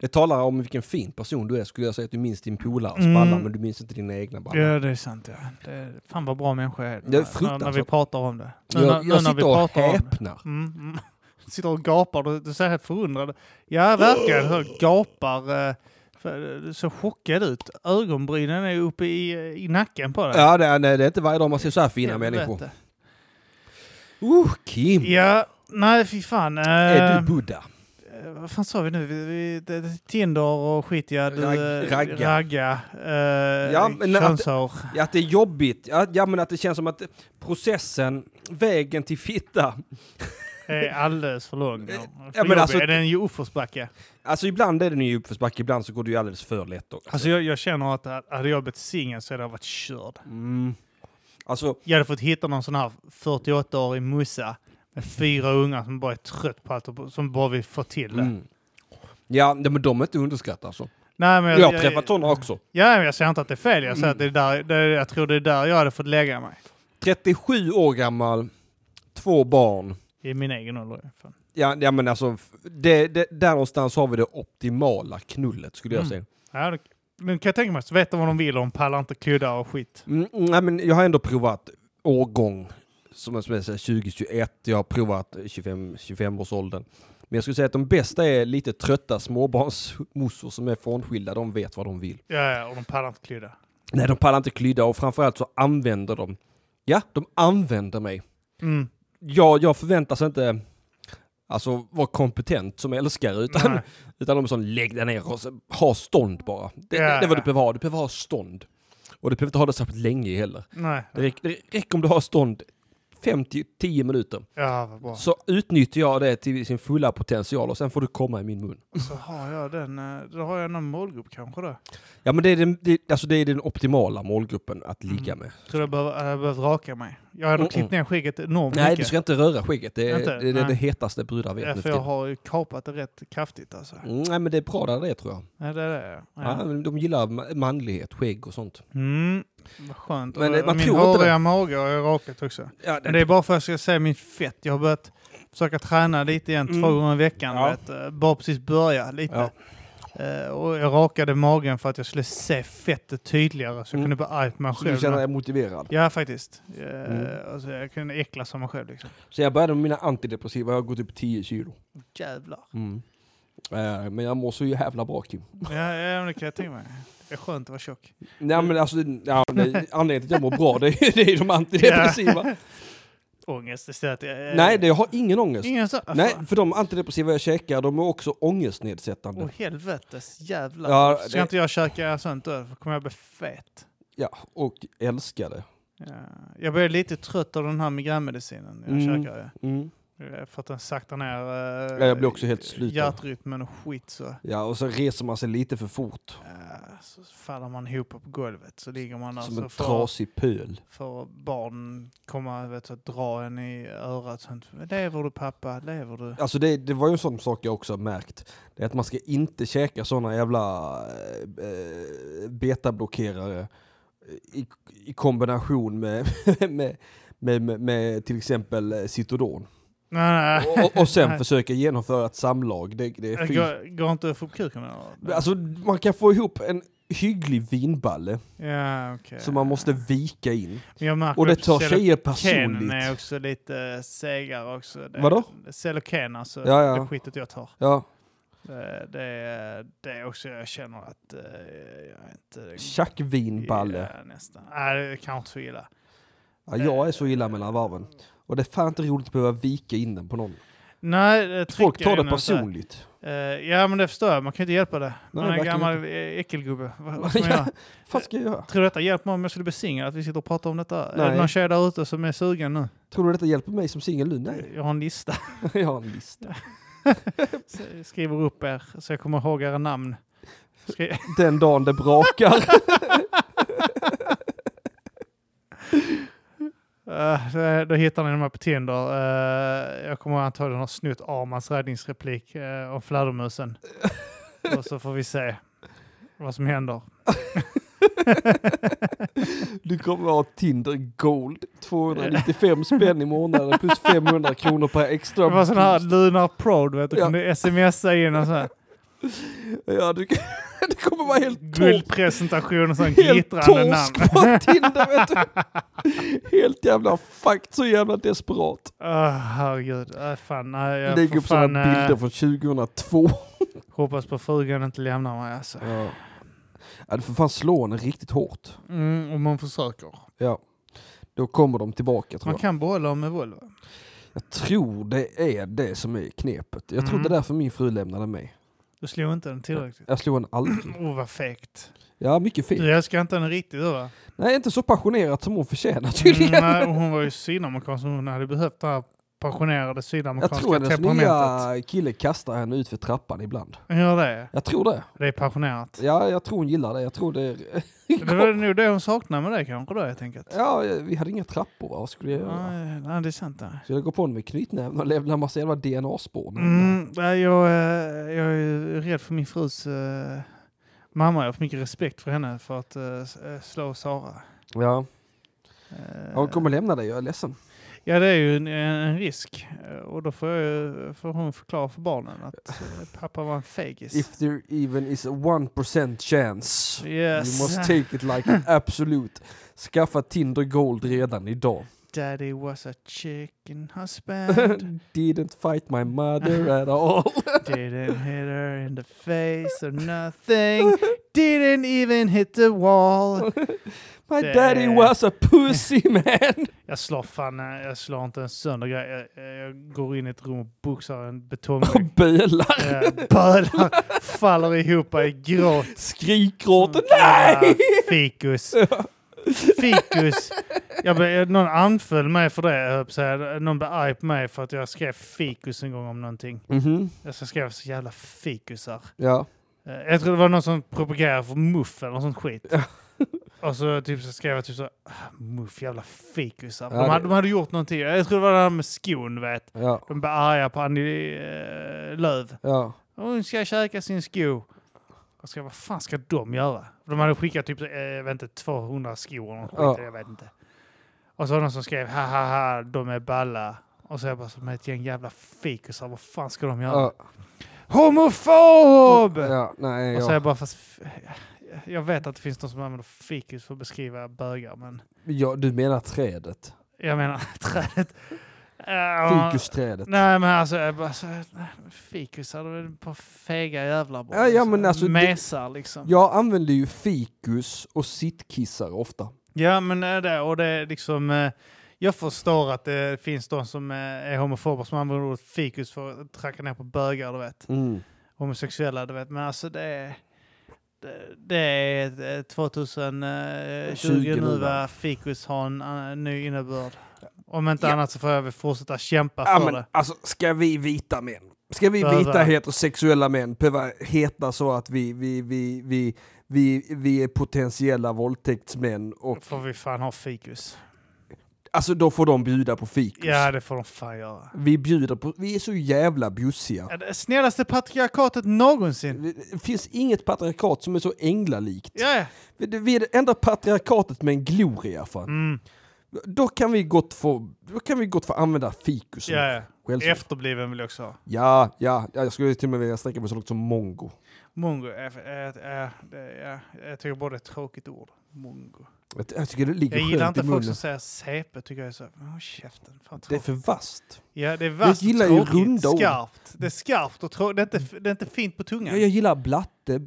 Speaker 2: Det talar om vilken fin person du är, skulle jag säga att du minns din polares
Speaker 1: Mm.
Speaker 2: ballar, men du minns inte dina egna ballar.
Speaker 1: ja, det är sant. Ja. Det är, fan vad bra människa jag är.
Speaker 2: Det är
Speaker 1: när, när vi
Speaker 2: fruktansvärt. pratar
Speaker 1: pratar om det. Nu, när-
Speaker 2: Jag,
Speaker 1: nu
Speaker 2: jag
Speaker 1: när vi
Speaker 2: sitter och
Speaker 1: pratar om det.
Speaker 2: häpnar.
Speaker 1: Mm, mm. Sitter och gapar. Du, du ser helt förundrad Ja, verkligen. Jag gapar. eh, för- Du ser chockad ut. Ögonbrynen är uppe i, eh, i nacken på dig.
Speaker 2: Ja, det är, nej, det är inte varje dag man ser så här fina
Speaker 1: Helvete.
Speaker 2: människor. Uh, Kim!
Speaker 1: Ja, nej fy fan. Eh,
Speaker 2: Är du Buddha?
Speaker 1: eh, vad fan sa vi nu? Vi, vi, det, det, Tinder och skit ja. Du,
Speaker 2: Rag-
Speaker 1: eh,
Speaker 2: ragga.
Speaker 1: ragga eh,
Speaker 2: Ja, men att-
Speaker 1: könshår.
Speaker 2: Ja, att det är jobbigt. Ja, ja, men att det känns som att processen, vägen till fitta.
Speaker 1: är alldeles för lång. Ja. För
Speaker 2: men
Speaker 1: jobbig.
Speaker 2: alltså-
Speaker 1: är det en uppförsbacke?
Speaker 2: Alltså ibland är den ju uppförsbacke, ibland så går det ju alldeles för lätt också.
Speaker 1: Alltså jag, jag känner att ha- hade jag blivit singel så hade jag varit körd.
Speaker 2: Mm. Alltså,
Speaker 1: Jag hade fått hitta någon sån här 48-årig mussa med fyra ungar som bara är trött på allt och på- som bara vill få till det.
Speaker 2: mm. Ja, nej, men de är inte underskattade alltså.
Speaker 1: Nej, men
Speaker 2: Jag har träffat sådana också.
Speaker 1: Ja, men jag säger inte att det är fel. Jag säger att det är där, det, är- jag tror det är där jag hade fått lägga mig.
Speaker 2: 37 år gammal, två barn.
Speaker 1: I min egen ålder. i alla fall.
Speaker 2: Ja, ja men alltså, f- det, det, där någonstans har vi det optimala knullet skulle jag
Speaker 1: Mm.
Speaker 2: säga.
Speaker 1: Ja, det- nu kan jag tänka mig att veta vad de vill och de pallar inte kuddar och skit.
Speaker 2: Mm, nej, men jag har ändå provat årgång som, som jag säger 2021. Jag har provat 25, 25 årsåldern. Men jag skulle säga att de bästa är lite trötta småbarnsmorsor som är frånskilda. De vet vad de vill.
Speaker 1: Ja, ja, och de pallar inte klydda.
Speaker 2: Nej, de pallar inte klydda och framförallt så använder de. Ja, de använder mig.
Speaker 1: Mm.
Speaker 2: Jag, jag förväntas inte alltså, vara kompetent som älskare utan,
Speaker 1: Nej.
Speaker 2: utan de är sån lägg dig ner och så, ha stånd bara. Det, det,
Speaker 1: Ja,
Speaker 2: det är vad
Speaker 1: ja.
Speaker 2: du behöver ha. Du behöver ha stånd. Och du behöver inte ha det särskilt länge heller.
Speaker 1: Nej.
Speaker 2: Det räcker, det räcker om du har stånd 50-10 minuter.
Speaker 1: Ja, vad bra.
Speaker 2: Så utnyttjar jag det till sin fulla potential och sen får du komma i min mun.
Speaker 1: Så har jag den. eh, Då har jag någon målgrupp kanske då.
Speaker 2: Ja men det är den, det, alltså det är den optimala målgruppen att ligga med.
Speaker 1: Tror jag behöver, eh, jag behöver raka mig. Jag har nog
Speaker 2: Mm,
Speaker 1: klippt ner skägget enormt
Speaker 2: Nej, du
Speaker 1: mycket.
Speaker 2: ska inte röra skägget. Det är
Speaker 1: Inte?
Speaker 2: det, är
Speaker 1: Nej.
Speaker 2: det hetaste brudar vet nu
Speaker 1: Därför
Speaker 2: för
Speaker 1: jag
Speaker 2: tiden.
Speaker 1: har ju kapat det rätt kraftigt alltså.
Speaker 2: Mm, Nej men det är bra där det är, tror jag.
Speaker 1: Ja, det är det.
Speaker 2: Ja.
Speaker 1: Ja.
Speaker 2: men de gillar ma- manlighet, skägg och sånt.
Speaker 1: Mm. Vad skönt.
Speaker 2: Men,
Speaker 1: Men,
Speaker 2: eh, man
Speaker 1: min
Speaker 2: tror inte det.
Speaker 1: håriga mage har jag rakat också.
Speaker 2: Ja,
Speaker 1: Men det är bara för att jag ska se min fett. Jag har börjat försöka träna lite igen
Speaker 2: Mm.
Speaker 1: två gånger i veckan.
Speaker 2: Ja.
Speaker 1: Vet, eh, bara precis börja lite.
Speaker 2: Ja.
Speaker 1: Eh, och jag rakade magen för att jag skulle se fettet tydligare så jag
Speaker 2: Mm.
Speaker 1: kunde bealpa mig
Speaker 2: Så du
Speaker 1: själv.
Speaker 2: känner dig motiverad.
Speaker 1: Ja, faktiskt. Eh,
Speaker 2: Mm.
Speaker 1: alltså, jag kunde äcklas av mig själv. Liksom.
Speaker 2: Så jag började med mina antidepressiva, jag har gått upp 10 kilo.
Speaker 1: Jävlar.
Speaker 2: Mm. Eh, men jag mår så jävla bra Kim.
Speaker 1: Ja, ja, men det kan jag tänka mig. Det är skönt att vara tjock.
Speaker 2: Nej men alltså, ja, nej, anledningen till att jag mår bra det är ju det är de antidepressiva.
Speaker 1: Ångest istället. Eh,
Speaker 2: Nej, det, jag har ingen ångest.
Speaker 1: Ingen Alltså. så...
Speaker 2: Nej,
Speaker 1: Nej.
Speaker 2: för de antidepressiva jag käkar de är också ångestnedsättande.
Speaker 1: Åh helvetes jävlar.
Speaker 2: Ja,
Speaker 1: Ska
Speaker 2: det-
Speaker 1: inte jag käka sånt då? För kommer jag bli fet.
Speaker 2: Ja, och älskade.
Speaker 1: Ja. Eh, Jag blir lite trött av den här migränmedicinen jag
Speaker 2: Mm.
Speaker 1: käkar. ja.
Speaker 2: Mm.
Speaker 1: Eh, För att den saktar ner
Speaker 2: Ja,
Speaker 1: eh,
Speaker 2: jag blir också helt slut av.
Speaker 1: hjärtrytmen och skit. Så.
Speaker 2: Ja, och så reser man sig lite för fort.
Speaker 1: Eh, så faller man ihop på golvet så ligger man där
Speaker 2: som en
Speaker 1: så får,
Speaker 2: trasig pöl.
Speaker 1: får barn komma vet, att dra en i örat. Sånt. Lever du pappa? Lever du?
Speaker 2: Alltså det, det var ju en sån sak jag också har märkt. Det är att man ska inte käka såna jävla eh, eh, betablockerare i, i kombination med, med, med, med, med till exempel eh, Citodon.
Speaker 1: Nej, nej.
Speaker 2: Och, och sen försöka genomföra ett samlag. Det, det är
Speaker 1: Det
Speaker 2: fy
Speaker 1: går, går inte att få upp kuken eller?
Speaker 2: Alltså man kan få ihop en hygglig vinballe
Speaker 1: ja, okej.
Speaker 2: som man måste vika in.
Speaker 1: Men jag märker
Speaker 2: Och det
Speaker 1: att
Speaker 2: tar
Speaker 1: Celocanen
Speaker 2: tjejer
Speaker 1: är
Speaker 2: personligt.
Speaker 1: också lite segare också. Det-
Speaker 2: Vadå?
Speaker 1: Celocan, alltså
Speaker 2: Ja, ja.
Speaker 1: det skitet jag tar.
Speaker 2: Ja,
Speaker 1: Eh, Det, det, det är också, jag känner att eh, jag är inte...
Speaker 2: tjackvinballe.
Speaker 1: Ja, nästan. Nej, det är kanske inte så illa.
Speaker 2: Ja, jag är så illa mellan varven. Och det är fan inte roligt att behöva vika in den på någon.
Speaker 1: Nej, det
Speaker 2: Folk
Speaker 1: trycker
Speaker 2: tar
Speaker 1: in
Speaker 2: det
Speaker 1: en så här.
Speaker 2: personligt.
Speaker 1: Eh, ja, men det förstår jag. Man kan ju inte hjälpa det. Man är en
Speaker 2: verkligen
Speaker 1: gammal eh, äckelgubbe. Vad, vad ska man
Speaker 2: Ja.
Speaker 1: göra?
Speaker 2: Vad ska jag göra?
Speaker 1: Tror du detta hjälper mig om jag skulle bli singel? Att vi sitter och pratar om detta? Är det
Speaker 2: Nej.
Speaker 1: någon tjej där ute som är sugen nu?
Speaker 2: Tror du detta hjälper mig som singel nu? Nej,
Speaker 1: Jag har en lista.
Speaker 2: jag har en lista.
Speaker 1: Så jag skriver upp er så jag kommer ihåg era namn. Skri-
Speaker 2: Den dagen det brakar.
Speaker 1: Eh, så då hittar ni dem här på Tinder. Eh, jag kommer antagligen ha snott Armans räddningsreplik eh, om fladdermusen. och så får vi se vad som händer.
Speaker 2: Du kommer ha Tinder Gold. 295 spänn i månaden plus 500 kronor per extra.
Speaker 1: Det var sån här Lunar Pro, du vet. Du
Speaker 2: Ja.
Speaker 1: kunde smsa in en sån här
Speaker 2: Ja, du, det kommer vara helt torrt.
Speaker 1: guldpresentation och sån
Speaker 2: Helt
Speaker 1: glittrande namn.
Speaker 2: torsk på Tinder vet du. Helt jävla fucked, så jävla desperat.
Speaker 1: Oh, herregud. Uh, fan, nej, jag
Speaker 2: Lägg
Speaker 1: får
Speaker 2: upp sådana
Speaker 1: fan, eh,
Speaker 2: bilder från 2002.
Speaker 1: hoppas på frugan inte lämnar mig alltså.
Speaker 2: Ja. du får fan slå henne riktigt hårt.
Speaker 1: Mm, om man försöker.
Speaker 2: Ja. Då kommer de tillbaka tror
Speaker 1: Man
Speaker 2: jag.
Speaker 1: kan behålla dem med Volvo.
Speaker 2: Jag tror det är det som är knepet. Jag tror
Speaker 1: Mm.
Speaker 2: det är därför min fru lämnade mig.
Speaker 1: Du slog inte den tillräckligt.
Speaker 2: Jag slog henne aldrig.
Speaker 1: Åh, oh, vad fegt.
Speaker 2: Ja, mycket fint.
Speaker 1: Du älskar inte henne riktigt du va?
Speaker 2: Nej, inte så passionerat som hon förtjänar tydligen.
Speaker 1: Mm, nej, och hon var ju sydamerikan så hon hade behövt det här passionerade
Speaker 2: jag tror
Speaker 1: sydamerikanska
Speaker 2: hennes
Speaker 1: temperamentet.
Speaker 2: nya kille kastar henne ut för trappan ibland.
Speaker 1: Hon gör det.
Speaker 2: Jag tror det.
Speaker 1: Det är passionerat.
Speaker 2: Ja, jag tror hon gillar det. Jag tror det är...
Speaker 1: Det var nog det hon saknade med det kanske då helt enkelt.
Speaker 2: Ja, vi hade inga trappor. va? Vad skulle jag göra?
Speaker 1: Nej, nej, det är sant det.
Speaker 2: Så jag går på honom med knytnäven och lämnar massa jävla DNA-spår.
Speaker 1: Mm, nej, jag, eh, jag är ju rädd för min frus eh, mamma. Jag har för mycket respekt för henne för att eh, s- eh, slå Sara.
Speaker 2: Ja,
Speaker 1: Eh,
Speaker 2: hon kommer lämna dig. Jag är ledsen.
Speaker 1: Ja, det är ju en, en, en risk. Eh, Och då får, jag, ju- får hon förklara för barnen att eh, pappa var en fegis.
Speaker 2: If there even is a 1%
Speaker 1: yes.
Speaker 2: chance. You must take it like an absolute. Skaffa Tinder Gold redan idag.
Speaker 1: Daddy was a chicken husband.
Speaker 2: Didn't fight my mother at all.
Speaker 1: Didn't hit her in the face or nothing. Didn't even hit the wall.
Speaker 2: My
Speaker 1: Det-
Speaker 2: daddy was a pussy man.
Speaker 1: Jag slår fan, eh, jag slår inte ens sönder grejer. Jag, eh, jag går in i ett rum och boxar en
Speaker 2: Och
Speaker 1: betongvägg.
Speaker 2: bölar.
Speaker 1: Eh, Bölar, faller ihop i gråt.
Speaker 2: Skrikgråten. Nej!
Speaker 1: Ja, Fikus. Fikus. Jag blev, eh, någon anföll mig för det, jag höll på att säga. Någon blev arg på mig för att jag skrev fikus en gång om någonting.
Speaker 2: Mhm.
Speaker 1: Jag skrev så jävla fikusar.
Speaker 2: Ja.
Speaker 1: Eh, Jag tror det var någon som propagerade för muff eller något sånt skit. Och så, typ, så skrev jag typ så "Ah, muff jävla fikusar.
Speaker 2: Ja,
Speaker 1: de,
Speaker 2: det-
Speaker 1: hade, de hade gjort någonting. Jag tror det var det här med skon vet.
Speaker 2: Ja.
Speaker 1: De blev arga på Annie eh, Lööf.
Speaker 2: Ja.
Speaker 1: Hon ska käka sin sko. Jag ska, vad fan ska de göra? De hade skickat typ eh, jag vet inte, 200 skor eller något skit,
Speaker 2: Ja.
Speaker 1: jag vet inte. Och så var det någon som skrev ha ha ha, de är balla. Och så jag bara, som ett gäng jävla fikusar, vad fan ska de göra?
Speaker 2: ja.
Speaker 1: Homofob!
Speaker 2: Ja, nej,
Speaker 1: Och så är
Speaker 2: jag,
Speaker 1: jag bara, fast f- jag vet att det finns de som använder fikus för att beskriva bögar, men
Speaker 2: ja, du menar trädet?
Speaker 1: jag menar trädet. Eh,
Speaker 2: Fikusträdet?
Speaker 1: Nej men alltså, jag bara, så, nej, men fikus är väl ett par fega jävlar bara.
Speaker 2: Ja, ja, men
Speaker 1: Så,
Speaker 2: alltså, det-
Speaker 1: Mesar liksom.
Speaker 2: Jag använder ju fikus och sittkissar ofta.
Speaker 1: Ja, men eh, det, och det är liksom... eh, Jag förstår att det finns de som eh, är homofober som använder ordet fikus för att tracka ner på bögar, du vet.
Speaker 2: Mm.
Speaker 1: Homosexuella, du vet. Men alltså det är... det- Det är eh, 2020
Speaker 2: 20
Speaker 1: eh, nu
Speaker 2: nu,
Speaker 1: va?
Speaker 2: va?
Speaker 1: Fikus har en annan- ny innebörd. Om inte annat så får jag väl fortsätta kämpa
Speaker 2: Ja,
Speaker 1: för
Speaker 2: men,
Speaker 1: det.
Speaker 2: alltså, ska vi vita män, ska vi
Speaker 1: Behöva-
Speaker 2: vita heterosexuella män behöva heta så att vi, vi, vi, vi, vi, vi är potentiella våldtäktsmän? Och,
Speaker 1: Då får vi fan ha fikus.
Speaker 2: alltså då får de bjuda på fikus.
Speaker 1: Ja, det får de fan göra.
Speaker 2: Vi bjuder på, vi är så jävla bjussiga.
Speaker 1: Ja, det snällaste patriarkatet någonsin.
Speaker 2: Det finns inget patriarkat som är så änglalikt.
Speaker 1: Ja, ja.
Speaker 2: Vi- Vi är det enda patriarkatet med en gloria fan.
Speaker 1: Mm.
Speaker 2: Då kan vi gott få, då kan vi gott få använda fikus. som
Speaker 1: ja, ja.
Speaker 2: skällsord.
Speaker 1: Efterbliven vill jag också ha.
Speaker 2: Ja, ja, ja, jag skulle till och med vilja sträcka mig så långt som mongo.
Speaker 1: Mongo, är, är, är, är, är, jag tycker bara det är ett tråkigt ord. Mongo.
Speaker 2: Jag, jag tycker det
Speaker 1: Jag
Speaker 2: ligger
Speaker 1: gillar
Speaker 2: skönt
Speaker 1: inte
Speaker 2: i
Speaker 1: folk
Speaker 2: munnen.
Speaker 1: som säger CP, tycker jag är så... Åh, käften. Fan,
Speaker 2: Det är
Speaker 1: tråkigt.
Speaker 2: för vasst.
Speaker 1: ja, det är vasst och
Speaker 2: gillar ju
Speaker 1: tråkigt,
Speaker 2: runda ord.
Speaker 1: Skarpt. Det är skarpt och tråkigt. Det, är inte- det är inte fint på tungan.
Speaker 2: Ja, jag gillar blatte,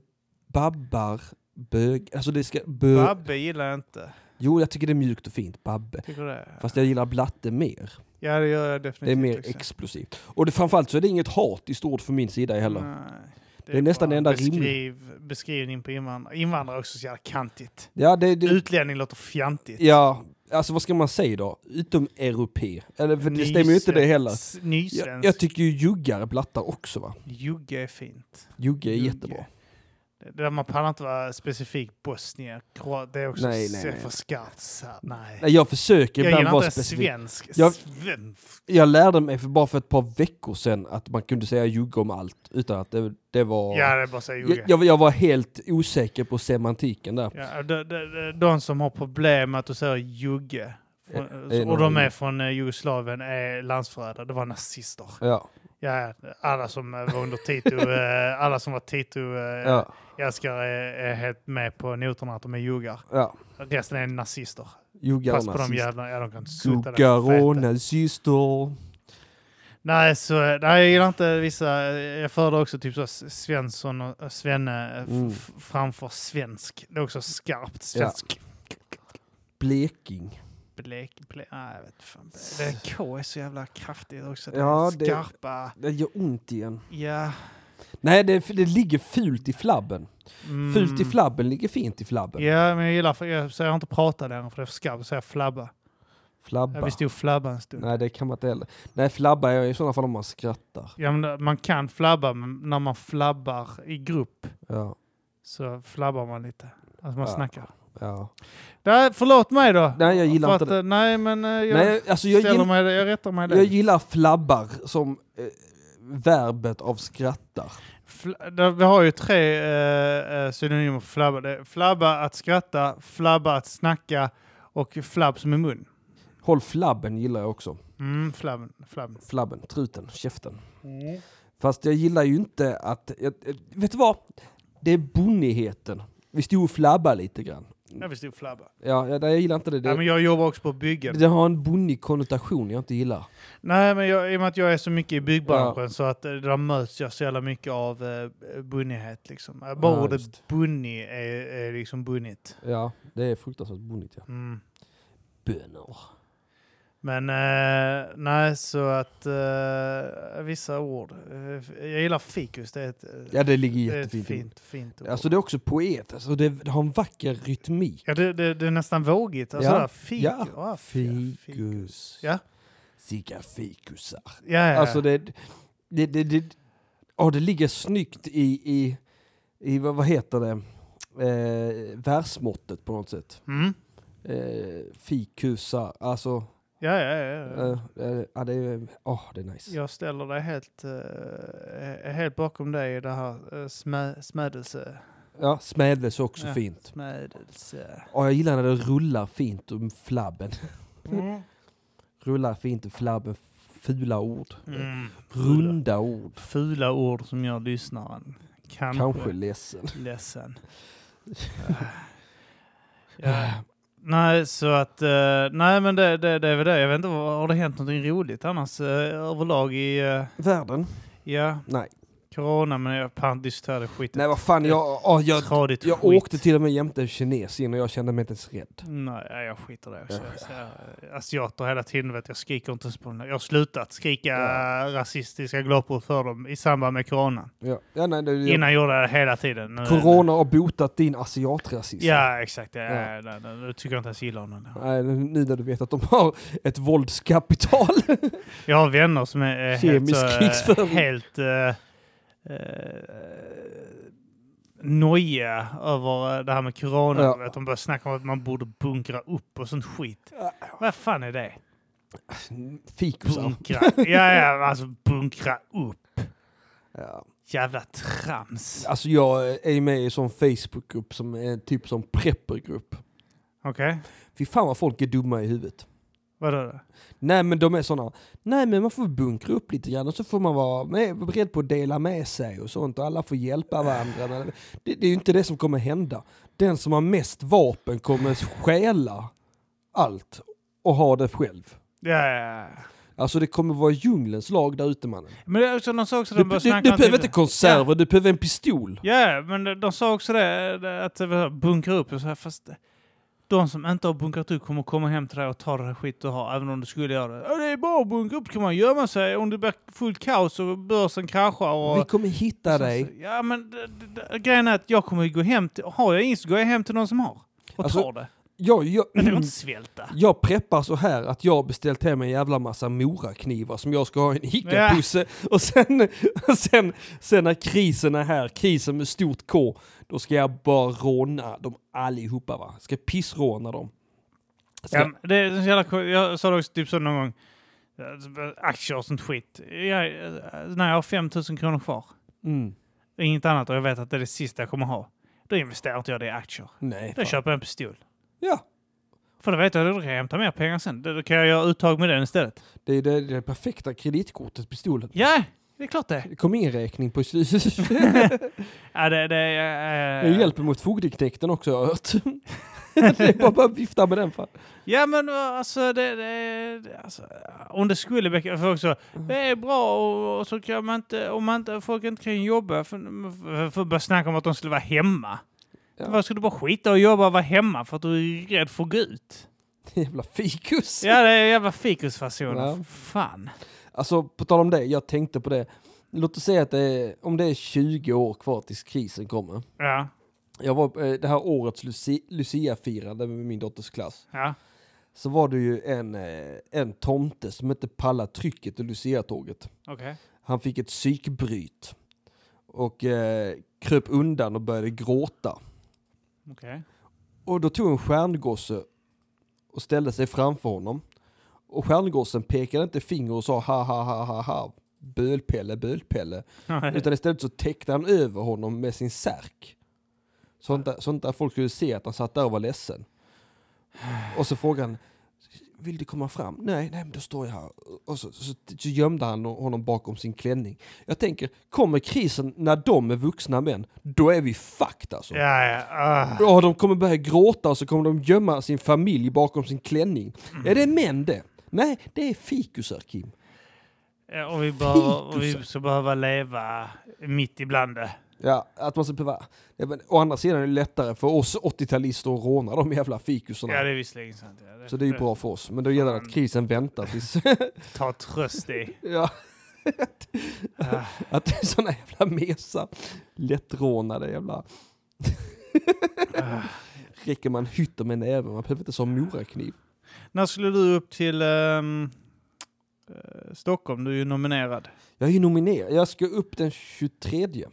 Speaker 2: babbar, bög. Alltså det ska... Bö.
Speaker 1: Babbe gillar jag inte.
Speaker 2: Jo, jag tycker det är mjukt och fint, babbe.
Speaker 1: Tycker du det?
Speaker 2: Fast jag gillar blatte mer.
Speaker 1: Ja, det gör jag
Speaker 2: Det är
Speaker 1: definitivt.
Speaker 2: mer
Speaker 1: också.
Speaker 2: explosivt. Och det, framförallt så är det inget hat i stort från min sida heller.
Speaker 1: Nej,
Speaker 2: Det är nästan
Speaker 1: bara
Speaker 2: det enda
Speaker 1: beskriv, Beskrivning på invandrare. Invandrare är också så jävla kantigt.
Speaker 2: Ja, det, det,
Speaker 1: Utlänning låter fjantigt.
Speaker 2: ja, alltså vad ska man säga då? Utom europé. Eller för det stämmer ju inte det
Speaker 1: Nysvensk-
Speaker 2: heller. Jag,
Speaker 1: Nysvensk.
Speaker 2: jag tycker ju juggar är blattar också va?
Speaker 1: Jugge är fint.
Speaker 2: Jugge är
Speaker 1: Jugge.
Speaker 2: jättebra.
Speaker 1: Det där man pallar inte vara specifik bosnier, kroat, det är också
Speaker 2: Nej, nej,
Speaker 1: så
Speaker 2: nej.
Speaker 1: för skarpt. så här, Nej.
Speaker 2: Nej, jag försöker
Speaker 1: Jag
Speaker 2: ibland
Speaker 1: gillar
Speaker 2: vara
Speaker 1: inte
Speaker 2: specifik.
Speaker 1: svensk.
Speaker 2: Jag-
Speaker 1: Svensk.
Speaker 2: Jag lärde mig för bara för ett par veckor sedan att man kunde säga jugga om allt utan att det, det var...
Speaker 1: Ja, det är bara att säga jugge.
Speaker 2: jag, jag, jag var helt osäker på semantiken där.
Speaker 1: Ja, de, de, de, de som har problem med att du säger jugge, från,
Speaker 2: är
Speaker 1: och de
Speaker 2: någon-
Speaker 1: är från eh, Jugoslavien, är landsförrädare. Det var nazister.
Speaker 2: Ja,
Speaker 1: Ja, alla som eh, var under Tito, eh, alla som var Tito-älskare
Speaker 2: ja,
Speaker 1: är, är helt med på noterna att de är juggar.
Speaker 2: ja.
Speaker 1: Resten är nazister.
Speaker 2: Juggar
Speaker 1: Pass
Speaker 2: och
Speaker 1: på de
Speaker 2: nazister.
Speaker 1: jävlarna, ja de kan sutta
Speaker 2: Juggar och
Speaker 1: feta.
Speaker 2: nazister.
Speaker 1: Nej, så, nej, jag gillar inte vissa. eh, Jag föredrar också typ så Svensson och eh, Svenne f-
Speaker 2: Mm.
Speaker 1: f- framför svensk. Det är också skarpt svensk.
Speaker 2: Bleking.
Speaker 1: Blek, blek, nej, jag vet fan. Det K är så jävla kraftigt också. Det
Speaker 2: Ja,
Speaker 1: är
Speaker 2: det-
Speaker 1: skarpa.
Speaker 2: Det gör ont igen.
Speaker 1: Ja.
Speaker 2: Nej, det, det ligger fult i flabben.
Speaker 1: Mm.
Speaker 2: Fult i flabben ligger fint i flabben.
Speaker 1: Ja, men jag gillar, för jag, så jag har inte pratat längre för det är för skarpt. Så jag flabba. Jag
Speaker 2: Flabba.
Speaker 1: visste ju flabba en stund.
Speaker 2: Nej, det kan man inte heller. Nej, flabba är i sådana fall om man skrattar.
Speaker 1: Ja, men man kan flabba, men när man flabbar i grupp
Speaker 2: Ja,
Speaker 1: så flabbar man lite. Alltså man
Speaker 2: Ja.
Speaker 1: snackar.
Speaker 2: ja.
Speaker 1: Nej, förlåt mig då.
Speaker 2: Nej, jag gillar
Speaker 1: För
Speaker 2: inte
Speaker 1: att,
Speaker 2: det.
Speaker 1: eh, Nej, men eh, jag...
Speaker 2: Nej, alltså jag,
Speaker 1: ställer
Speaker 2: gill,
Speaker 1: mig, jag rättar mig
Speaker 2: jag
Speaker 1: det.
Speaker 2: gillar flabbar som eh, verbet av skrattar.
Speaker 1: Fla- där- Vi har ju tre eh, eh, synonymer för flabba. Det är flabba att skratta, flabba att snacka och flabb som i mun.
Speaker 2: Håll flabben gillar jag också.
Speaker 1: Mm, flabben. flabben.
Speaker 2: Flabben, truten, käften. Fast jag gillar ju inte att... Jag, jag- vet du vad? Det är bonnigheten. Vi stod och flabbade lite grann.
Speaker 1: Jag vill stå flabba.
Speaker 2: Ja, jag, nej, jag gillar inte det.
Speaker 1: Nej,
Speaker 2: Det,
Speaker 1: men jag jobbar också på byggen.
Speaker 2: det har en bonnig konnotation jag inte gillar.
Speaker 1: Nej, men jag, i och med att jag är så mycket i byggbranschen så att eh, där möts jag så jävla mycket av eh, bunnighet. Liksom. Eh, Bara
Speaker 2: Ja,
Speaker 1: ordet
Speaker 2: just.
Speaker 1: bunnig är, är liksom bunnigt.
Speaker 2: Ja, det är fruktansvärt bonnigt. Ja.
Speaker 1: Mm.
Speaker 2: Bönor.
Speaker 1: Men eh, nej, så att eh, vissa ord. Eh, jag gillar fikus, det är ett, eh,
Speaker 2: Ja, det ligger
Speaker 1: det är ett
Speaker 2: jättefint.
Speaker 1: fint,
Speaker 2: Fint.
Speaker 1: fint ord.
Speaker 2: Alltså det är också poet. Alltså, det, det har en vacker rytmik.
Speaker 1: ja, det, det, det är nästan vågigt. Alltså,
Speaker 2: Ja.
Speaker 1: ja. Fikus. Ja,
Speaker 2: Ja.
Speaker 1: fikus.
Speaker 2: Fikus.
Speaker 1: Ja.
Speaker 2: Sicka fikusar.
Speaker 1: Ja, ja.
Speaker 2: Alltså det... Det, det, det, åh, det ligger snyggt i... i, i vad, vad heter det? Eh, versmåttet på något sätt.
Speaker 1: mm.
Speaker 2: Eh, fikusar. Alltså...
Speaker 1: ja, ja, ja. ja.
Speaker 2: Eh, eh, ja, det, är, åh, det är nice.
Speaker 1: Jag ställer dig helt, eh, helt bakom dig i det här eh, smä, smädelse.
Speaker 2: Ja, smädelse också
Speaker 1: Ja.
Speaker 2: fint.
Speaker 1: Smädelse.
Speaker 2: Åh, jag gillar när det rullar fint om flabben.
Speaker 1: Mm.
Speaker 2: rullar fint om flabben. fula ord.
Speaker 1: Mm. Fula,
Speaker 2: Runda ord.
Speaker 1: fula ord som gör lyssnaren kanske,
Speaker 2: Kanske ledsen.
Speaker 1: ledsen. ja. Nej, så att... eh, nej, men det, det, det är väl det. Jag vet inte, vad- har det hänt någonting roligt annars eh, överlag i... eh,
Speaker 2: Världen?
Speaker 1: ja,
Speaker 2: Nej.
Speaker 1: corona, men jag fan diskuterade skiten.
Speaker 2: Nej, vad fan. Jag, åh, jag,
Speaker 1: Tradigt
Speaker 2: jag
Speaker 1: skit.
Speaker 2: åkte till och med jämte en kines in och jag kände mig inte ens rädd.
Speaker 1: Nej, nej, jag skiter i det. Så, så, eh, asiater hela tiden, vet, jag skriker inte ens på dem. Jag har slutat skrika
Speaker 2: Ja.
Speaker 1: rasistiska glåpord för dem i samband med corona.
Speaker 2: Ja. Ja, nej, det, jag,
Speaker 1: Innan gjorde jag det hela tiden. Nu,
Speaker 2: corona har botat din asiatrasism.
Speaker 1: Ja, exakt. Ja,
Speaker 2: Ja.
Speaker 1: ja. Nej, nej, nu tycker jag inte ens illa om den.
Speaker 2: Nej, nu när du vet att de har ett våldskapital.
Speaker 1: Jag har vänner som är eh, helt,
Speaker 2: Kemisk
Speaker 1: så, eh,
Speaker 2: krigsföring.
Speaker 1: helt eh, eh, nojiga över eh, det här med corona.
Speaker 2: Ja.
Speaker 1: Att de börjar snacka om att man borde bunkra upp och sånt skit. Vad fan är det?
Speaker 2: Fikusar.
Speaker 1: Bunkra. ja, ja, alltså bunkra upp.
Speaker 2: Ja.
Speaker 1: Jävla trams.
Speaker 2: Alltså jag är ju med i en sån Facebookgrupp som är typ som preppergrupp.
Speaker 1: Okej,
Speaker 2: Fy fan vad folk är dumma i huvudet.
Speaker 1: vadå då?
Speaker 2: Nej men de är såna. Nej men man får bunkra upp lite grann och så får man vara med, beredd på att dela med sig och sånt och alla får
Speaker 1: Ah.
Speaker 2: hjälpa varandra. Det, det är ju inte det som kommer hända. Den som har mest vapen kommer stjäla allt och ha det själv.
Speaker 1: Ja, ja, ja.
Speaker 2: Alltså det kommer vara djungelns lag där ute mannen.
Speaker 1: Men det är också, de sa också de
Speaker 2: Du, du,
Speaker 1: började
Speaker 2: du
Speaker 1: snacka om
Speaker 2: behöver
Speaker 1: typ-
Speaker 2: inte konserver, du behöver en pistol.
Speaker 1: Ja, ja, men de, de sa också det, det, att det var bunkra upp. Och så här, fast de som inte har bunkrat upp kommer komma hem till dig och ta det här skit du har, även om du skulle göra det. Ja, det är bara att bunkra upp, kan man gömma sig. Om det blir fullt kaos och börsen kraschar. Och,
Speaker 2: Vi kommer hitta dig.
Speaker 1: Ja, men det, det, det, grejen är att jag kommer ju gå hem till... Har jag inget så går jag hem till någon som har. Och
Speaker 2: Alltså,
Speaker 1: tar det.
Speaker 2: Jag, jag,
Speaker 1: Men det går inte att svälta.
Speaker 2: jag preppar så här att jag har beställt hem en jävla massa moraknivar som jag ska ha i en ICA-pusse. Och sen, och sen, sen när krisen är här, krisen med stort K, då ska jag bara råna dem allihopa va. Ska pissråna dem. Ska,
Speaker 1: Ja, men det är så jävla, ko- jag sa det också typ så någon gång. eh, Aktier och sånt skit. Jag, eh, när jag har 5 000 kronor kvar.
Speaker 2: mm,
Speaker 1: och inget annat och jag vet att det är det sista jag kommer ha. Då investerar inte jag det i aktier.
Speaker 2: nej.
Speaker 1: Då
Speaker 2: fan.
Speaker 1: köper jag en pistol.
Speaker 2: Ja,
Speaker 1: För då vet jag att då kan jag hämta mer pengar sen. Då då kan jag göra uttag med den istället.
Speaker 2: det är det, det, är det perfekta kreditkortet, pistolen.
Speaker 1: Ja, det är klart det.
Speaker 2: Det kom in räkning på slutet.
Speaker 1: Ja, det, eh, det,
Speaker 2: Det
Speaker 1: äh,
Speaker 2: hjälper mot fogdeknekten också har jag hört. det är bara, bara vifta med den. Fan.
Speaker 1: ja, men eh, alltså, det, det, det- alltså om det skulle bli... För också,
Speaker 2: Mm.
Speaker 1: det är bra och, och så kan man inte... Om man inte, folk inte kan jobba. För, för, för att börja snacka om att de skulle vara hemma.
Speaker 2: Ja.
Speaker 1: Vad skulle du bara skita och jobba och vara hemma för att du är rädd för att gå ut?
Speaker 2: Jävla fikus.
Speaker 1: Ja, det är jävla fikusfasoner.
Speaker 2: Ja.
Speaker 1: Fan.
Speaker 2: Alltså på tal om det, jag tänkte på det. Låt oss säga att det är, om det är 20 år kvar tills krisen kommer.
Speaker 1: Ja,
Speaker 2: Jag var eh, det här årets Luci- Lucia-firande med min dotters klass.
Speaker 1: ja.
Speaker 2: Så var det ju en, eh, en tomte som inte pallade trycket i Lucia-tåget.
Speaker 1: Okej.
Speaker 2: Han fick ett psykbryt. Och eh, kröp undan och började gråta.
Speaker 1: Okej.
Speaker 2: Och då tog en stjärngosse och ställde sig framför honom. Och stjärngossen pekade inte finger och sa ha ha ha ha ha. Bölpelle, bölpelle. Utan istället så täckte han över honom med sin särk. Sånt där, sånt där folk skulle se att han satt där och var ledsen. Och så frågade han, vill du komma fram? Nej, nej, men då står jag här. Och så, så, så, gömde han honom bakom sin klänning. Jag tänker, kommer krisen när de är vuxna män, då är vi fucked alltså.
Speaker 1: Ja, ja. ah.
Speaker 2: Ja, de kommer börja gråta och så kommer de gömma sin familj bakom sin klänning. Är det män det? Nej, det är fikusar Kim.
Speaker 1: Ja, och, vi bör, och vi ska behöva leva mitt ibland det.
Speaker 2: Ja, att man ska behöva... Ja, men, å andra sidan är det lättare för oss 80-talister att råna de jävla fikusarna.
Speaker 1: Ja, det är visserligen sant. Ja,
Speaker 2: Så det är ju bra för oss. Men då gäller det att krisen väntar tills...
Speaker 1: Ta tröst i.
Speaker 2: ja.
Speaker 1: Ah.
Speaker 2: Att det är såna jävla mesar. Lättrånade jävla...
Speaker 1: Ah.
Speaker 2: Räcker man hytter med näven, man behöver inte så morakniv.
Speaker 1: När skulle du upp till ehm, eh, Stockholm? Du är ju nominerad.
Speaker 2: Jag är ju nominerad, jag ska upp den 23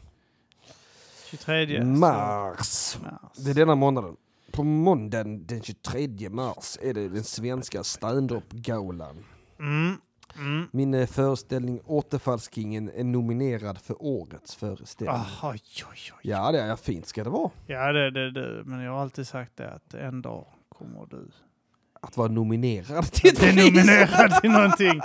Speaker 1: 23.
Speaker 2: mars.
Speaker 1: så- Mars.
Speaker 2: Det är denna månaden. På måndagen den 23 mars är det den svenska standup-galan.
Speaker 1: Mm. Mm.
Speaker 2: Min eh, föreställning Återfallskingen är nominerad för årets föreställning.
Speaker 1: Aha, oj, oj, oj.
Speaker 2: Ja, det är ja, fint ska det vara.
Speaker 1: Ja, det, det, det. Men jag har alltid sagt det att en dag kommer du
Speaker 2: Att vara nominerad till
Speaker 1: att
Speaker 2: ett
Speaker 1: bli
Speaker 2: pris.
Speaker 1: nominerad till någonting.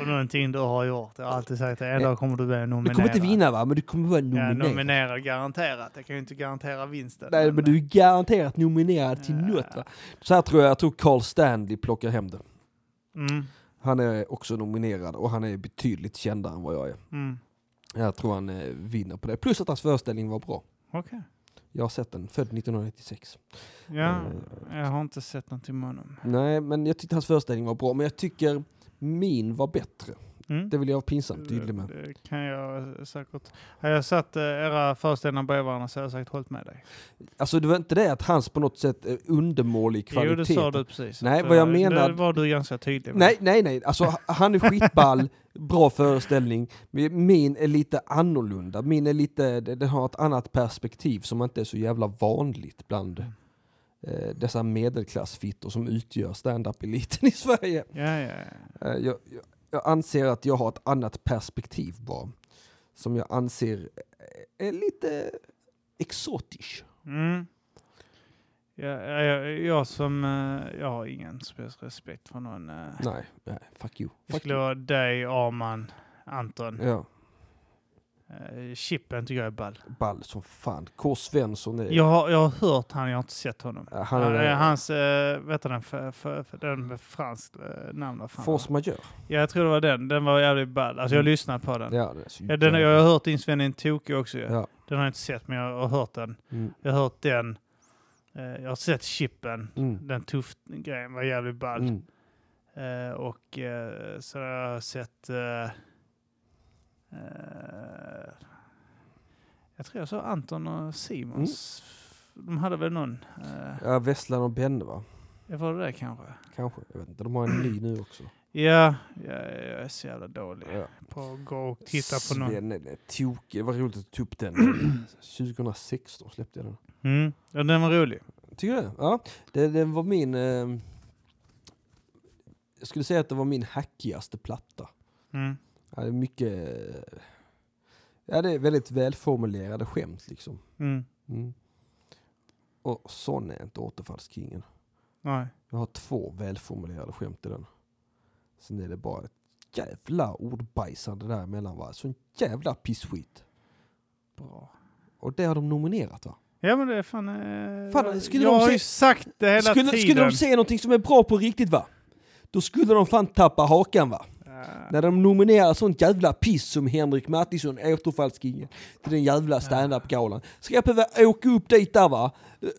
Speaker 1: Och någonting du har gjort. Jag har alltid sagt att en dag kommer du bli
Speaker 2: Du
Speaker 1: nominerad.
Speaker 2: kommer inte vinna va, men du kommer vara
Speaker 1: Ja,
Speaker 2: nominerad.
Speaker 1: nominerad garanterat. Jag kan ju inte garantera vinsten.
Speaker 2: Nej, men du är garanterat nominerad till något va. Så här tror jag, jag tror Carl Stanley plockar hem det.
Speaker 1: Mm,
Speaker 2: Han är också nominerad och han är betydligt kändare än vad jag är.
Speaker 1: mm.
Speaker 2: Jag tror han eh, vinner på det. Plus att hans föreställning var bra.
Speaker 1: Okej.
Speaker 2: Jag har sett den, född 1996.
Speaker 1: Ja,
Speaker 2: Eh,
Speaker 1: jag har inte sett någonting med honom.
Speaker 2: Nej, men jag tyckte hans föreställning var bra. Men jag tycker min var bättre.
Speaker 1: Mm.
Speaker 2: Det vill jag vara pinsamt tydlig med.
Speaker 1: Det kan jag säkert. Hade jag satt eh, era föreställningar bredvid varandra så hade jag säkert hållit med dig.
Speaker 2: Alltså det var inte det att hans på något sätt är undermålig kvalitet.
Speaker 1: Jo, det sa du precis.
Speaker 2: Nej,
Speaker 1: Det-
Speaker 2: vad jag menar-
Speaker 1: Det var du ganska tydlig med.
Speaker 2: Nej, nej, nej. Alltså h- han är skitball, bra föreställning. Men Min är lite annorlunda. Min är lite, den den har ett annat perspektiv som inte är så jävla vanligt bland
Speaker 1: Mm.
Speaker 2: eh, dessa medelklassfittor som utgör stand-up-eliten i Sverige.
Speaker 1: Ja, ja, ja.
Speaker 2: Eh, jag, jag, jag anser att jag har ett annat perspektiv bara. Som jag anser eh, är lite exotisk.
Speaker 1: Mm. Ja, ja, jag, jag som... eh, Jag har ingen speciell respekt för någon. eh.
Speaker 2: Nej, nej, fuck you.
Speaker 1: Det
Speaker 2: Fuck
Speaker 1: skulle
Speaker 2: you.
Speaker 1: vara dig, Arman, Anton.
Speaker 2: Ja,
Speaker 1: Eh, Chippen tycker jag är ball.
Speaker 2: ball som fan. K. Svensson är...
Speaker 1: Jag har, jag har hört han, jag har inte sett honom.
Speaker 2: eh, han
Speaker 1: Han
Speaker 2: är...
Speaker 1: Hans, eh, vet du den, för, för, för, den med franskt eh, namn? vad fan
Speaker 2: Force majeure.
Speaker 1: var det? Ja, jag tror det var den. Den var jävligt ball. Alltså jag
Speaker 2: Mm.
Speaker 1: lyssnade på den.
Speaker 2: Ja, det är så
Speaker 1: Ja, den,
Speaker 2: jävla-
Speaker 1: jag har hört inspelningen Tokyo också ju.
Speaker 2: Ja.
Speaker 1: Den har jag inte sett, men jag har hört den.
Speaker 2: Mm.
Speaker 1: Jag har hört den. Eh, jag har sett Chippen.
Speaker 2: Mm.
Speaker 1: Den tuff grejen var jävligt ball.
Speaker 2: Mm.
Speaker 1: Eh, och eh, så har jag sett... Eh, eh, jag tror jag såg Anton och Simons.
Speaker 2: Mm.
Speaker 1: De hade väl någon... Eh,
Speaker 2: Ja, Vesslan och Benne va?
Speaker 1: var det det kanske?
Speaker 2: Kanske, jag vet inte. De har en ny nu också.
Speaker 1: Ja, ja, jag är så jävla dålig
Speaker 2: Ja.
Speaker 1: på att gå och titta på någon.
Speaker 2: Sven är tokig. Det var roligt att du tog upp den. 2016 släppte jag den.
Speaker 1: Mm. Ja, den var rolig.
Speaker 2: Tycker du? Ja. Det, det var min... Eh, jag skulle säga att det var min hackigaste platta.
Speaker 1: Mm.
Speaker 2: Ja, det är mycket... eh, Ja, det är väldigt välformulerade skämt liksom.
Speaker 1: Mm.
Speaker 2: Mm. Och sån är inte återfallskingen.
Speaker 1: Nej.
Speaker 2: Jag har två välformulerade skämt i den. Sen är det bara ett jävla ordbajsande däremellan va. Sån jävla pissskit.
Speaker 1: Bra.
Speaker 2: Och det har de nominerat va?
Speaker 1: Ja men det är fan... Eh,
Speaker 2: Fan,
Speaker 1: jag
Speaker 2: skulle
Speaker 1: jag
Speaker 2: de
Speaker 1: har
Speaker 2: se-
Speaker 1: ju sagt det hela
Speaker 2: Skulle,
Speaker 1: tiden.
Speaker 2: skulle de säga någonting som är bra på riktigt va? Då skulle de fan tappa hakan va?
Speaker 1: Ja.
Speaker 2: När de nominerar sånt jävla piss som Henrik Mattisson, återfallskingen, till den jävla standup-galan. Ska jag behöva åka upp dit där va?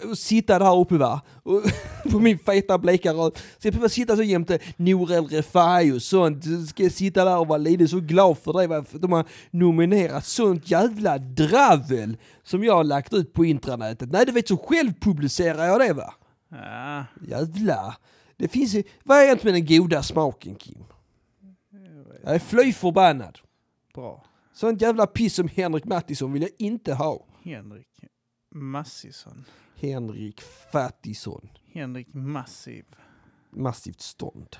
Speaker 2: Och sitta där uppe va? Och på min feta bleka röv. Ska jag behöva sitta så jämte Nour El Refai och sånt? Ska jag sitta där och vara lite så glad för det? va? För de har nominerat sånt jävla dravel som jag har lagt ut på intranätet. Nej du vet så själv publicerar jag det va?
Speaker 1: Ja.
Speaker 2: Jävla. Det finns ju... Vad är egentligen den goda smaken Kim? Jag är fly förbannad.
Speaker 1: Bra.
Speaker 2: Sånt jävla piss som Henrik Mattisson vill jag inte ha.
Speaker 1: Henrik Massisson.
Speaker 2: Henrik Fattisson.
Speaker 1: Henrik Massiv.
Speaker 2: Massivt stånd.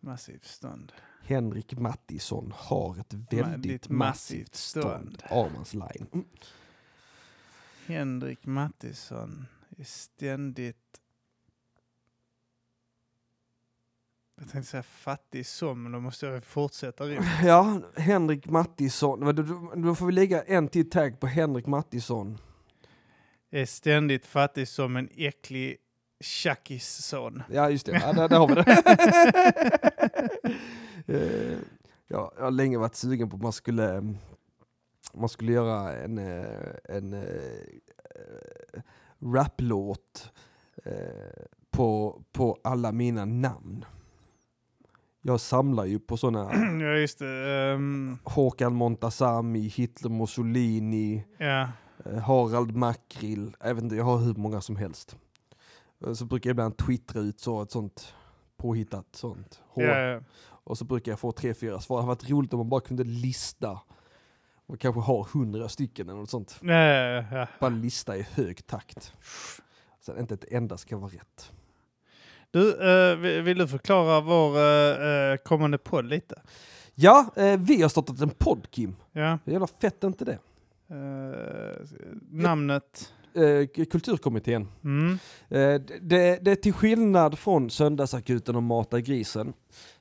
Speaker 1: Massiv stånd.
Speaker 2: Henrik Mattisson har ett väldigt
Speaker 1: Väldigt
Speaker 2: massivt
Speaker 1: massivt
Speaker 2: stånd.
Speaker 1: stånd.
Speaker 2: Armans line. Mm.
Speaker 1: Henrik Mattisson är ständigt... Jag tänkte säga fattig som, men då måste jag fortsätta rimma.
Speaker 2: Ja, Henrik Mattisson. Vad, då- då- Då får vi lägga en till tagg på Henrik Mattisson.
Speaker 1: Är ständigt fattig som en äcklig tjackisson.
Speaker 2: Ja, just det. Ja, där, där har vi det. Eh, ja, jag har länge varit sugen på att man skulle, mm, man skulle göra en, eh, en eh, raplåt eh, på, på alla mina namn. Jag samlar ju på sådana
Speaker 1: ja, just det. ehm,
Speaker 2: Håkan Montazami, Hitler Mussolini,
Speaker 1: ja.
Speaker 2: Eh, Harald Makrill, jag vet inte, jag har hur många som helst. Eh, Så brukar jag ibland twittra ut så, ett sånt påhittat sånt.
Speaker 1: Ja,
Speaker 2: hår.
Speaker 1: ja.
Speaker 2: Och så brukar jag få tre, fyra svar. Det hade varit roligt om man bara kunde lista och kanske ha hundra stycken eller något sånt.
Speaker 1: Ja, ja, ja.
Speaker 2: Bara lista i hög takt. Så att inte ett enda ska vara rätt.
Speaker 1: Du, eh, vi- vill du förklara vår eh, eh, kommande podd lite?
Speaker 2: Ja, eh, vi har startat en podd Kim.
Speaker 1: Ja.
Speaker 2: Hur jävla fett är inte det?
Speaker 1: Eh, namnet?
Speaker 2: eh, k- kulturkommittén.
Speaker 1: Mm.
Speaker 2: Eh, d- Det, det är till skillnad från Söndagsakuten och Mata grisen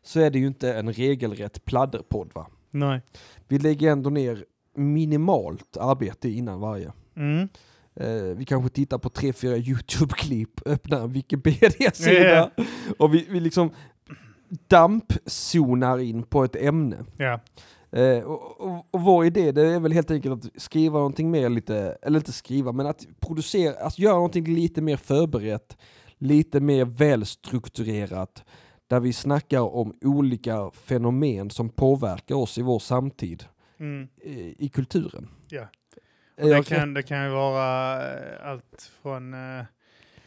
Speaker 2: så är det ju inte en regelrätt pladderpodd va?
Speaker 1: Nej.
Speaker 2: Vi lägger ändå ner minimalt arbete innan varje.
Speaker 1: Mm.
Speaker 2: Eh, vi kanske tittar på tre, fyra YouTube-klipp, öppnar en Wikipedia-sida och vi, vi liksom dampzonar in på ett ämne.
Speaker 1: Ja.
Speaker 2: Eh, och, och, och vår idé det är väl helt enkelt att skriva någonting mer lite, eller inte skriva, men att producera, att göra någonting lite mer förberett, lite mer välstrukturerat, där vi snackar om olika fenomen som påverkar oss i vår samtid eh,
Speaker 1: Mm.
Speaker 2: i, i kulturen. Eh,
Speaker 1: Ja.
Speaker 2: Är
Speaker 1: Det
Speaker 2: jag
Speaker 1: kan, det kan ju vara eh, allt från eh,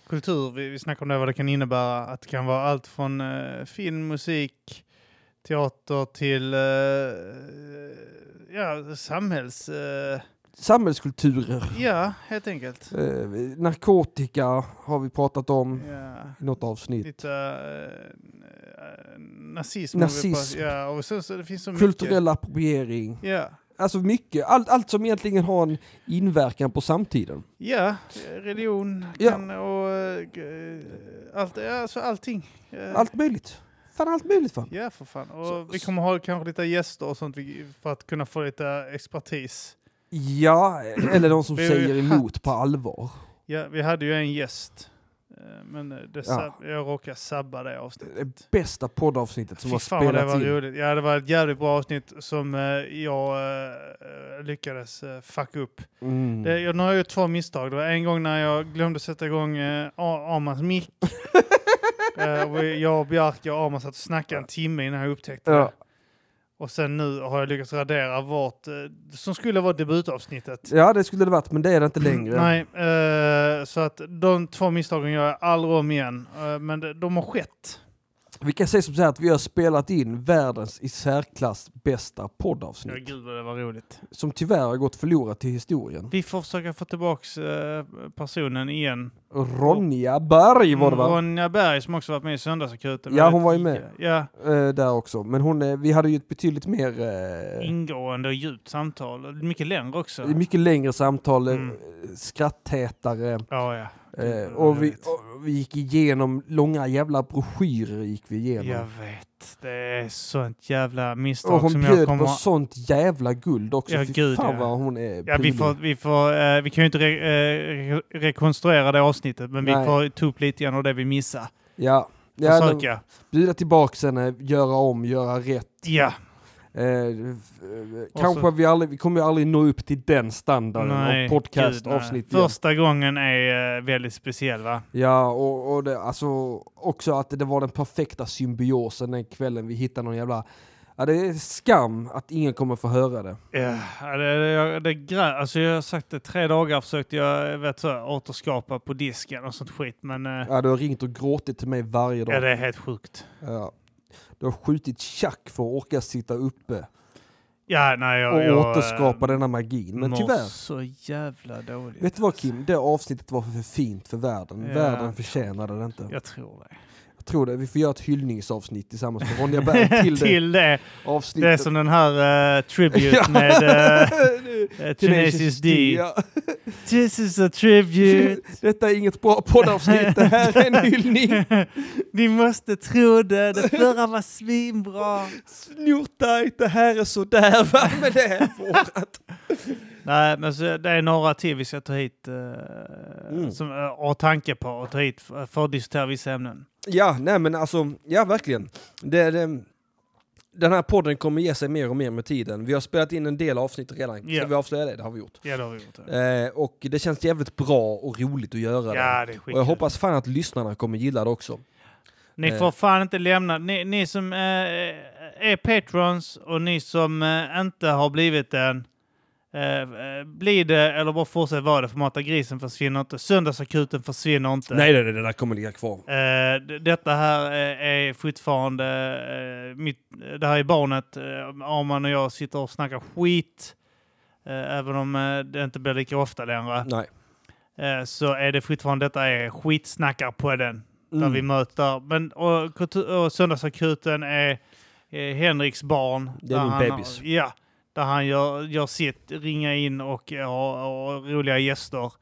Speaker 1: kultur, vi, vi snackade om det, vad det kan innebära. Att det kan vara allt från eh, film, musik, teater till eh, ja, samhälls... Eh,
Speaker 2: rätt? Samhällskulturer,
Speaker 1: ja, helt enkelt.
Speaker 2: eh, narkotika har vi pratat om
Speaker 1: Ja.
Speaker 2: i något avsnitt.
Speaker 1: Lite eh, nazism.
Speaker 2: Nazism.
Speaker 1: Ja, och sen så det finns så mycket.
Speaker 2: Kulturell appropriering,
Speaker 1: Ja.
Speaker 2: alltså mycket, allt, allt som egentligen har en inverkan på samtiden.
Speaker 1: Ja, religion
Speaker 2: Ja.
Speaker 1: kan, och eh, g- allt, ja, alltså allting. Eh,
Speaker 2: Allt möjligt. Fan allt möjligt fan.
Speaker 1: Ja, för fan. Och
Speaker 2: Så-
Speaker 1: vi kommer ha kanske lite gäster och sånt vi- för att kunna få lite expertis.
Speaker 2: Ja, Eh, eller de som
Speaker 1: Vi har ju
Speaker 2: säger emot på allvar.
Speaker 1: Ja, vi hade ju en gäst, eh, men det sab- jag råkade sabba det avsnittet.
Speaker 2: Det bästa poddavsnittet som
Speaker 1: Fy
Speaker 2: har
Speaker 1: fan vad det
Speaker 2: spelats
Speaker 1: var
Speaker 2: in.
Speaker 1: roligt. Ja, det var ett jävligt bra avsnitt som eh, jag eh, lyckades eh, fucka upp.
Speaker 2: Mm.
Speaker 1: Det, jag, Eh, nu har jag gjort två misstag. Det var en gång när jag glömde sätta igång eh, A- Amans mick. Eh, och jag och Bjarke och Aman satt och snackade en timme innan jag upptäckte det.
Speaker 2: Ja.
Speaker 1: Och sen nu har jag lyckats radera vårt, eh, som skulle vara debutavsnittet.
Speaker 2: ja, det skulle det varit, men det är det inte längre.
Speaker 1: Nej, eh, så att de två misstagen gör jag aldrig om igen. Eh, men de, de har skett.
Speaker 2: Vi kan säga som så här att vi har spelat in världens i särklass bästa
Speaker 1: Ja,
Speaker 2: poddavsnitt.
Speaker 1: gud vad det var roligt.
Speaker 2: Som tyvärr har gått förlorat till historien.
Speaker 1: Vi får försöka få tillbaks eh, personen igen.
Speaker 2: Ronja Berg var det va?
Speaker 1: Ronja Berg som också varit med i Söndagsakuten.
Speaker 2: Ja, hon var ju med.
Speaker 1: Ja,
Speaker 2: Eh, där också. Men hon, eh, vi hade ju ett betydligt mer... eh,
Speaker 1: ingående och djupt samtal. Mycket längre också.
Speaker 2: mycket längre samtal, eh,
Speaker 1: Mm.
Speaker 2: skrattätare.
Speaker 1: Ja, ja.
Speaker 2: Eh,
Speaker 1: Mm, jag
Speaker 2: och, vi,
Speaker 1: vet.
Speaker 2: och vi gick igenom långa jävla broschyrer gick vi igenom.
Speaker 1: Jag vet. Det är sånt jävla
Speaker 2: och
Speaker 1: misstag
Speaker 2: hon
Speaker 1: som jag
Speaker 2: bjöd
Speaker 1: kommer...
Speaker 2: på sånt jävla guld också.
Speaker 1: Ja,
Speaker 2: Fy
Speaker 1: gud,
Speaker 2: fan
Speaker 1: ja.
Speaker 2: vad hon är
Speaker 1: Ja, vi,
Speaker 2: pinig.
Speaker 1: får, vi, får, eh, vi kan ju inte re, eh, re, rekonstruera det avsnittet, men vi
Speaker 2: Nej.
Speaker 1: får ta upp lite grann av det vi missade.
Speaker 2: Ja, ja de-
Speaker 1: Försöka.
Speaker 2: bjuda tillbaka henne, göra om, göra rätt.
Speaker 1: Ja,
Speaker 2: Eh, f- eh,
Speaker 1: Och
Speaker 2: kanske
Speaker 1: så-
Speaker 2: vi aldrig, vi kommer ju aldrig nå upp till den standarden
Speaker 1: nej.
Speaker 2: av
Speaker 1: gud, nej.
Speaker 2: podcastavsnitt. igen.
Speaker 1: Första gången är eh, väldigt speciell, va?
Speaker 2: Ja, och, och det, alltså också att det var den perfekta symbiosen den kvällen vi hittade någon jävla... Ja, det är skam att ingen kommer få höra det.
Speaker 1: Ja, det, det, det, är grä- alltså jag har sagt det, tre dagar försökte jag jag vet så, återskapa på disken och sånt skit, men eh,
Speaker 2: Ja, du har ringt och gråtit till mig varje dag.
Speaker 1: ja, det är helt sjukt.
Speaker 2: Ja. Du har skjutit tjack för att orka sitta uppe
Speaker 1: Ja, nej, jag,
Speaker 2: och
Speaker 1: jag, eh,
Speaker 2: återskapa denna magin. Men
Speaker 1: mår
Speaker 2: tyvärr,
Speaker 1: så jävla dåligt.
Speaker 2: vet du vad Kim? Det avsnittet var för fint för världen.
Speaker 1: Ja.
Speaker 2: Världen förtjänade det inte.
Speaker 1: Jag tror det.
Speaker 2: Jag tror det. Vi får göra ett hyllningsavsnitt tillsammans med Ronja Berg till det
Speaker 1: Till det. Det
Speaker 2: avsnittet.
Speaker 1: är som den här eh, tribute
Speaker 2: Ja.
Speaker 1: med eh, eh, Tenacious D.
Speaker 2: Ja.
Speaker 1: This is a tribute.
Speaker 2: Detta är inget bra poddavsnitt, det här är en hyllning.
Speaker 1: Ni måste tro det, det förra var svinbra.
Speaker 2: Snortajt, det här är sådär, va? Men det är vårat.
Speaker 1: Nej, men så, det är några till vi ska ta hit eh,
Speaker 2: Mm.
Speaker 1: som eh, har tanke på att ta hit för, för att diskutera vissa ämnen.
Speaker 2: Ja, nej men alltså, ja verkligen. Det, det, den här podden kommer ge sig mer och mer med tiden. Vi har spelat in en del avsnitt redan,
Speaker 1: Ja.
Speaker 2: ska vi avslöja det? Det har vi gjort.
Speaker 1: Ja, det har vi gjort. Det.
Speaker 2: Eh, och det känns jävligt bra och roligt att göra det.
Speaker 1: Ja, det är
Speaker 2: Och jag
Speaker 1: skitkul.
Speaker 2: hoppas fan att lyssnarna kommer gilla det också. Eh.
Speaker 1: Ni får fan inte lämna. Ni, ni som eh, är patrons och ni som eh, inte har blivit den. Eh, eh, bli det eller bara fortsätt vara det för Mata Grisen försvinner inte. Söndagsakuten försvinner inte.
Speaker 2: Nej, nej, nej, det där kommer ligga kvar.
Speaker 1: Eh, d- detta här eh, är fortfarande eh, mitt, det här är barnet. Eh, Arman och jag sitter och snackar skit. Eh, även om eh, det inte blir lika ofta längre.
Speaker 2: Nej.
Speaker 1: Eh, så är det fortfarande detta är skitsnackarpodden där
Speaker 2: Mm.
Speaker 1: vi möter. Men, och, kultur- och Söndagsakuten är eh, Henriks barn.
Speaker 2: Det är
Speaker 1: där
Speaker 2: min
Speaker 1: han,
Speaker 2: bebis.
Speaker 1: Ja, där han gör, gör sitt, ringa in och eh, har och roliga gäster.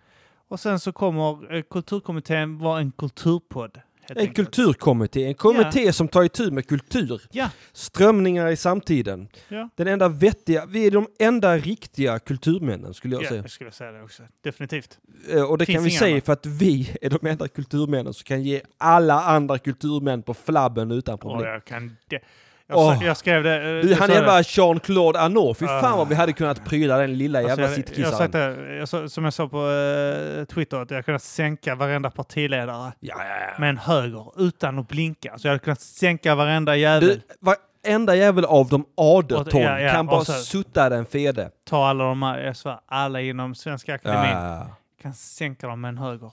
Speaker 1: Och sen så kommer eh, kulturkommittén vara en kulturpodd. helt
Speaker 2: En
Speaker 1: enkelt.
Speaker 2: kulturkommitté, en kommitté som tar itu med kultur.
Speaker 1: Ja.
Speaker 2: Strömningar i samtiden.
Speaker 1: Ja.
Speaker 2: Den enda vettiga, vi är de enda riktiga kulturmännen skulle jag
Speaker 1: Ja,
Speaker 2: säga.
Speaker 1: jag skulle säga det också. Definitivt.
Speaker 2: Eh, Och det
Speaker 1: Finns
Speaker 2: kan vi
Speaker 1: inga
Speaker 2: säga
Speaker 1: andra.
Speaker 2: för att vi är de enda kulturmännen som kan ge alla andra kulturmän på flabben utan
Speaker 1: Och
Speaker 2: problem.
Speaker 1: jag kan... De- jag,
Speaker 2: Åh.
Speaker 1: sa, jag skrev det... eh,
Speaker 2: Du,
Speaker 1: jag sa
Speaker 2: han
Speaker 1: det.
Speaker 2: jävla Jean-Claude Arnault, fy fan
Speaker 1: Ah.
Speaker 2: vad vi hade kunnat pryda den lilla jävla
Speaker 1: Alltså, jag, jag, sa
Speaker 2: sittkissaren.
Speaker 1: det, jag sa, som jag sa på eh, Twitter, att jag kunde sänka varenda partiledare
Speaker 2: Ja, ja, ja.
Speaker 1: med en höger utan att blinka. Så jag hade kunnat sänka varenda jävel.
Speaker 2: Du, varenda jävel av dem aderton
Speaker 1: Och- ja, ja,
Speaker 2: kan
Speaker 1: och
Speaker 2: bara
Speaker 1: så-
Speaker 2: sutta den fede.
Speaker 1: Ta alla de här, jag svär, alla inom Svenska
Speaker 2: Ja,
Speaker 1: Akademin.
Speaker 2: ja,
Speaker 1: Kan sänka dem med en höger.
Speaker 2: ja.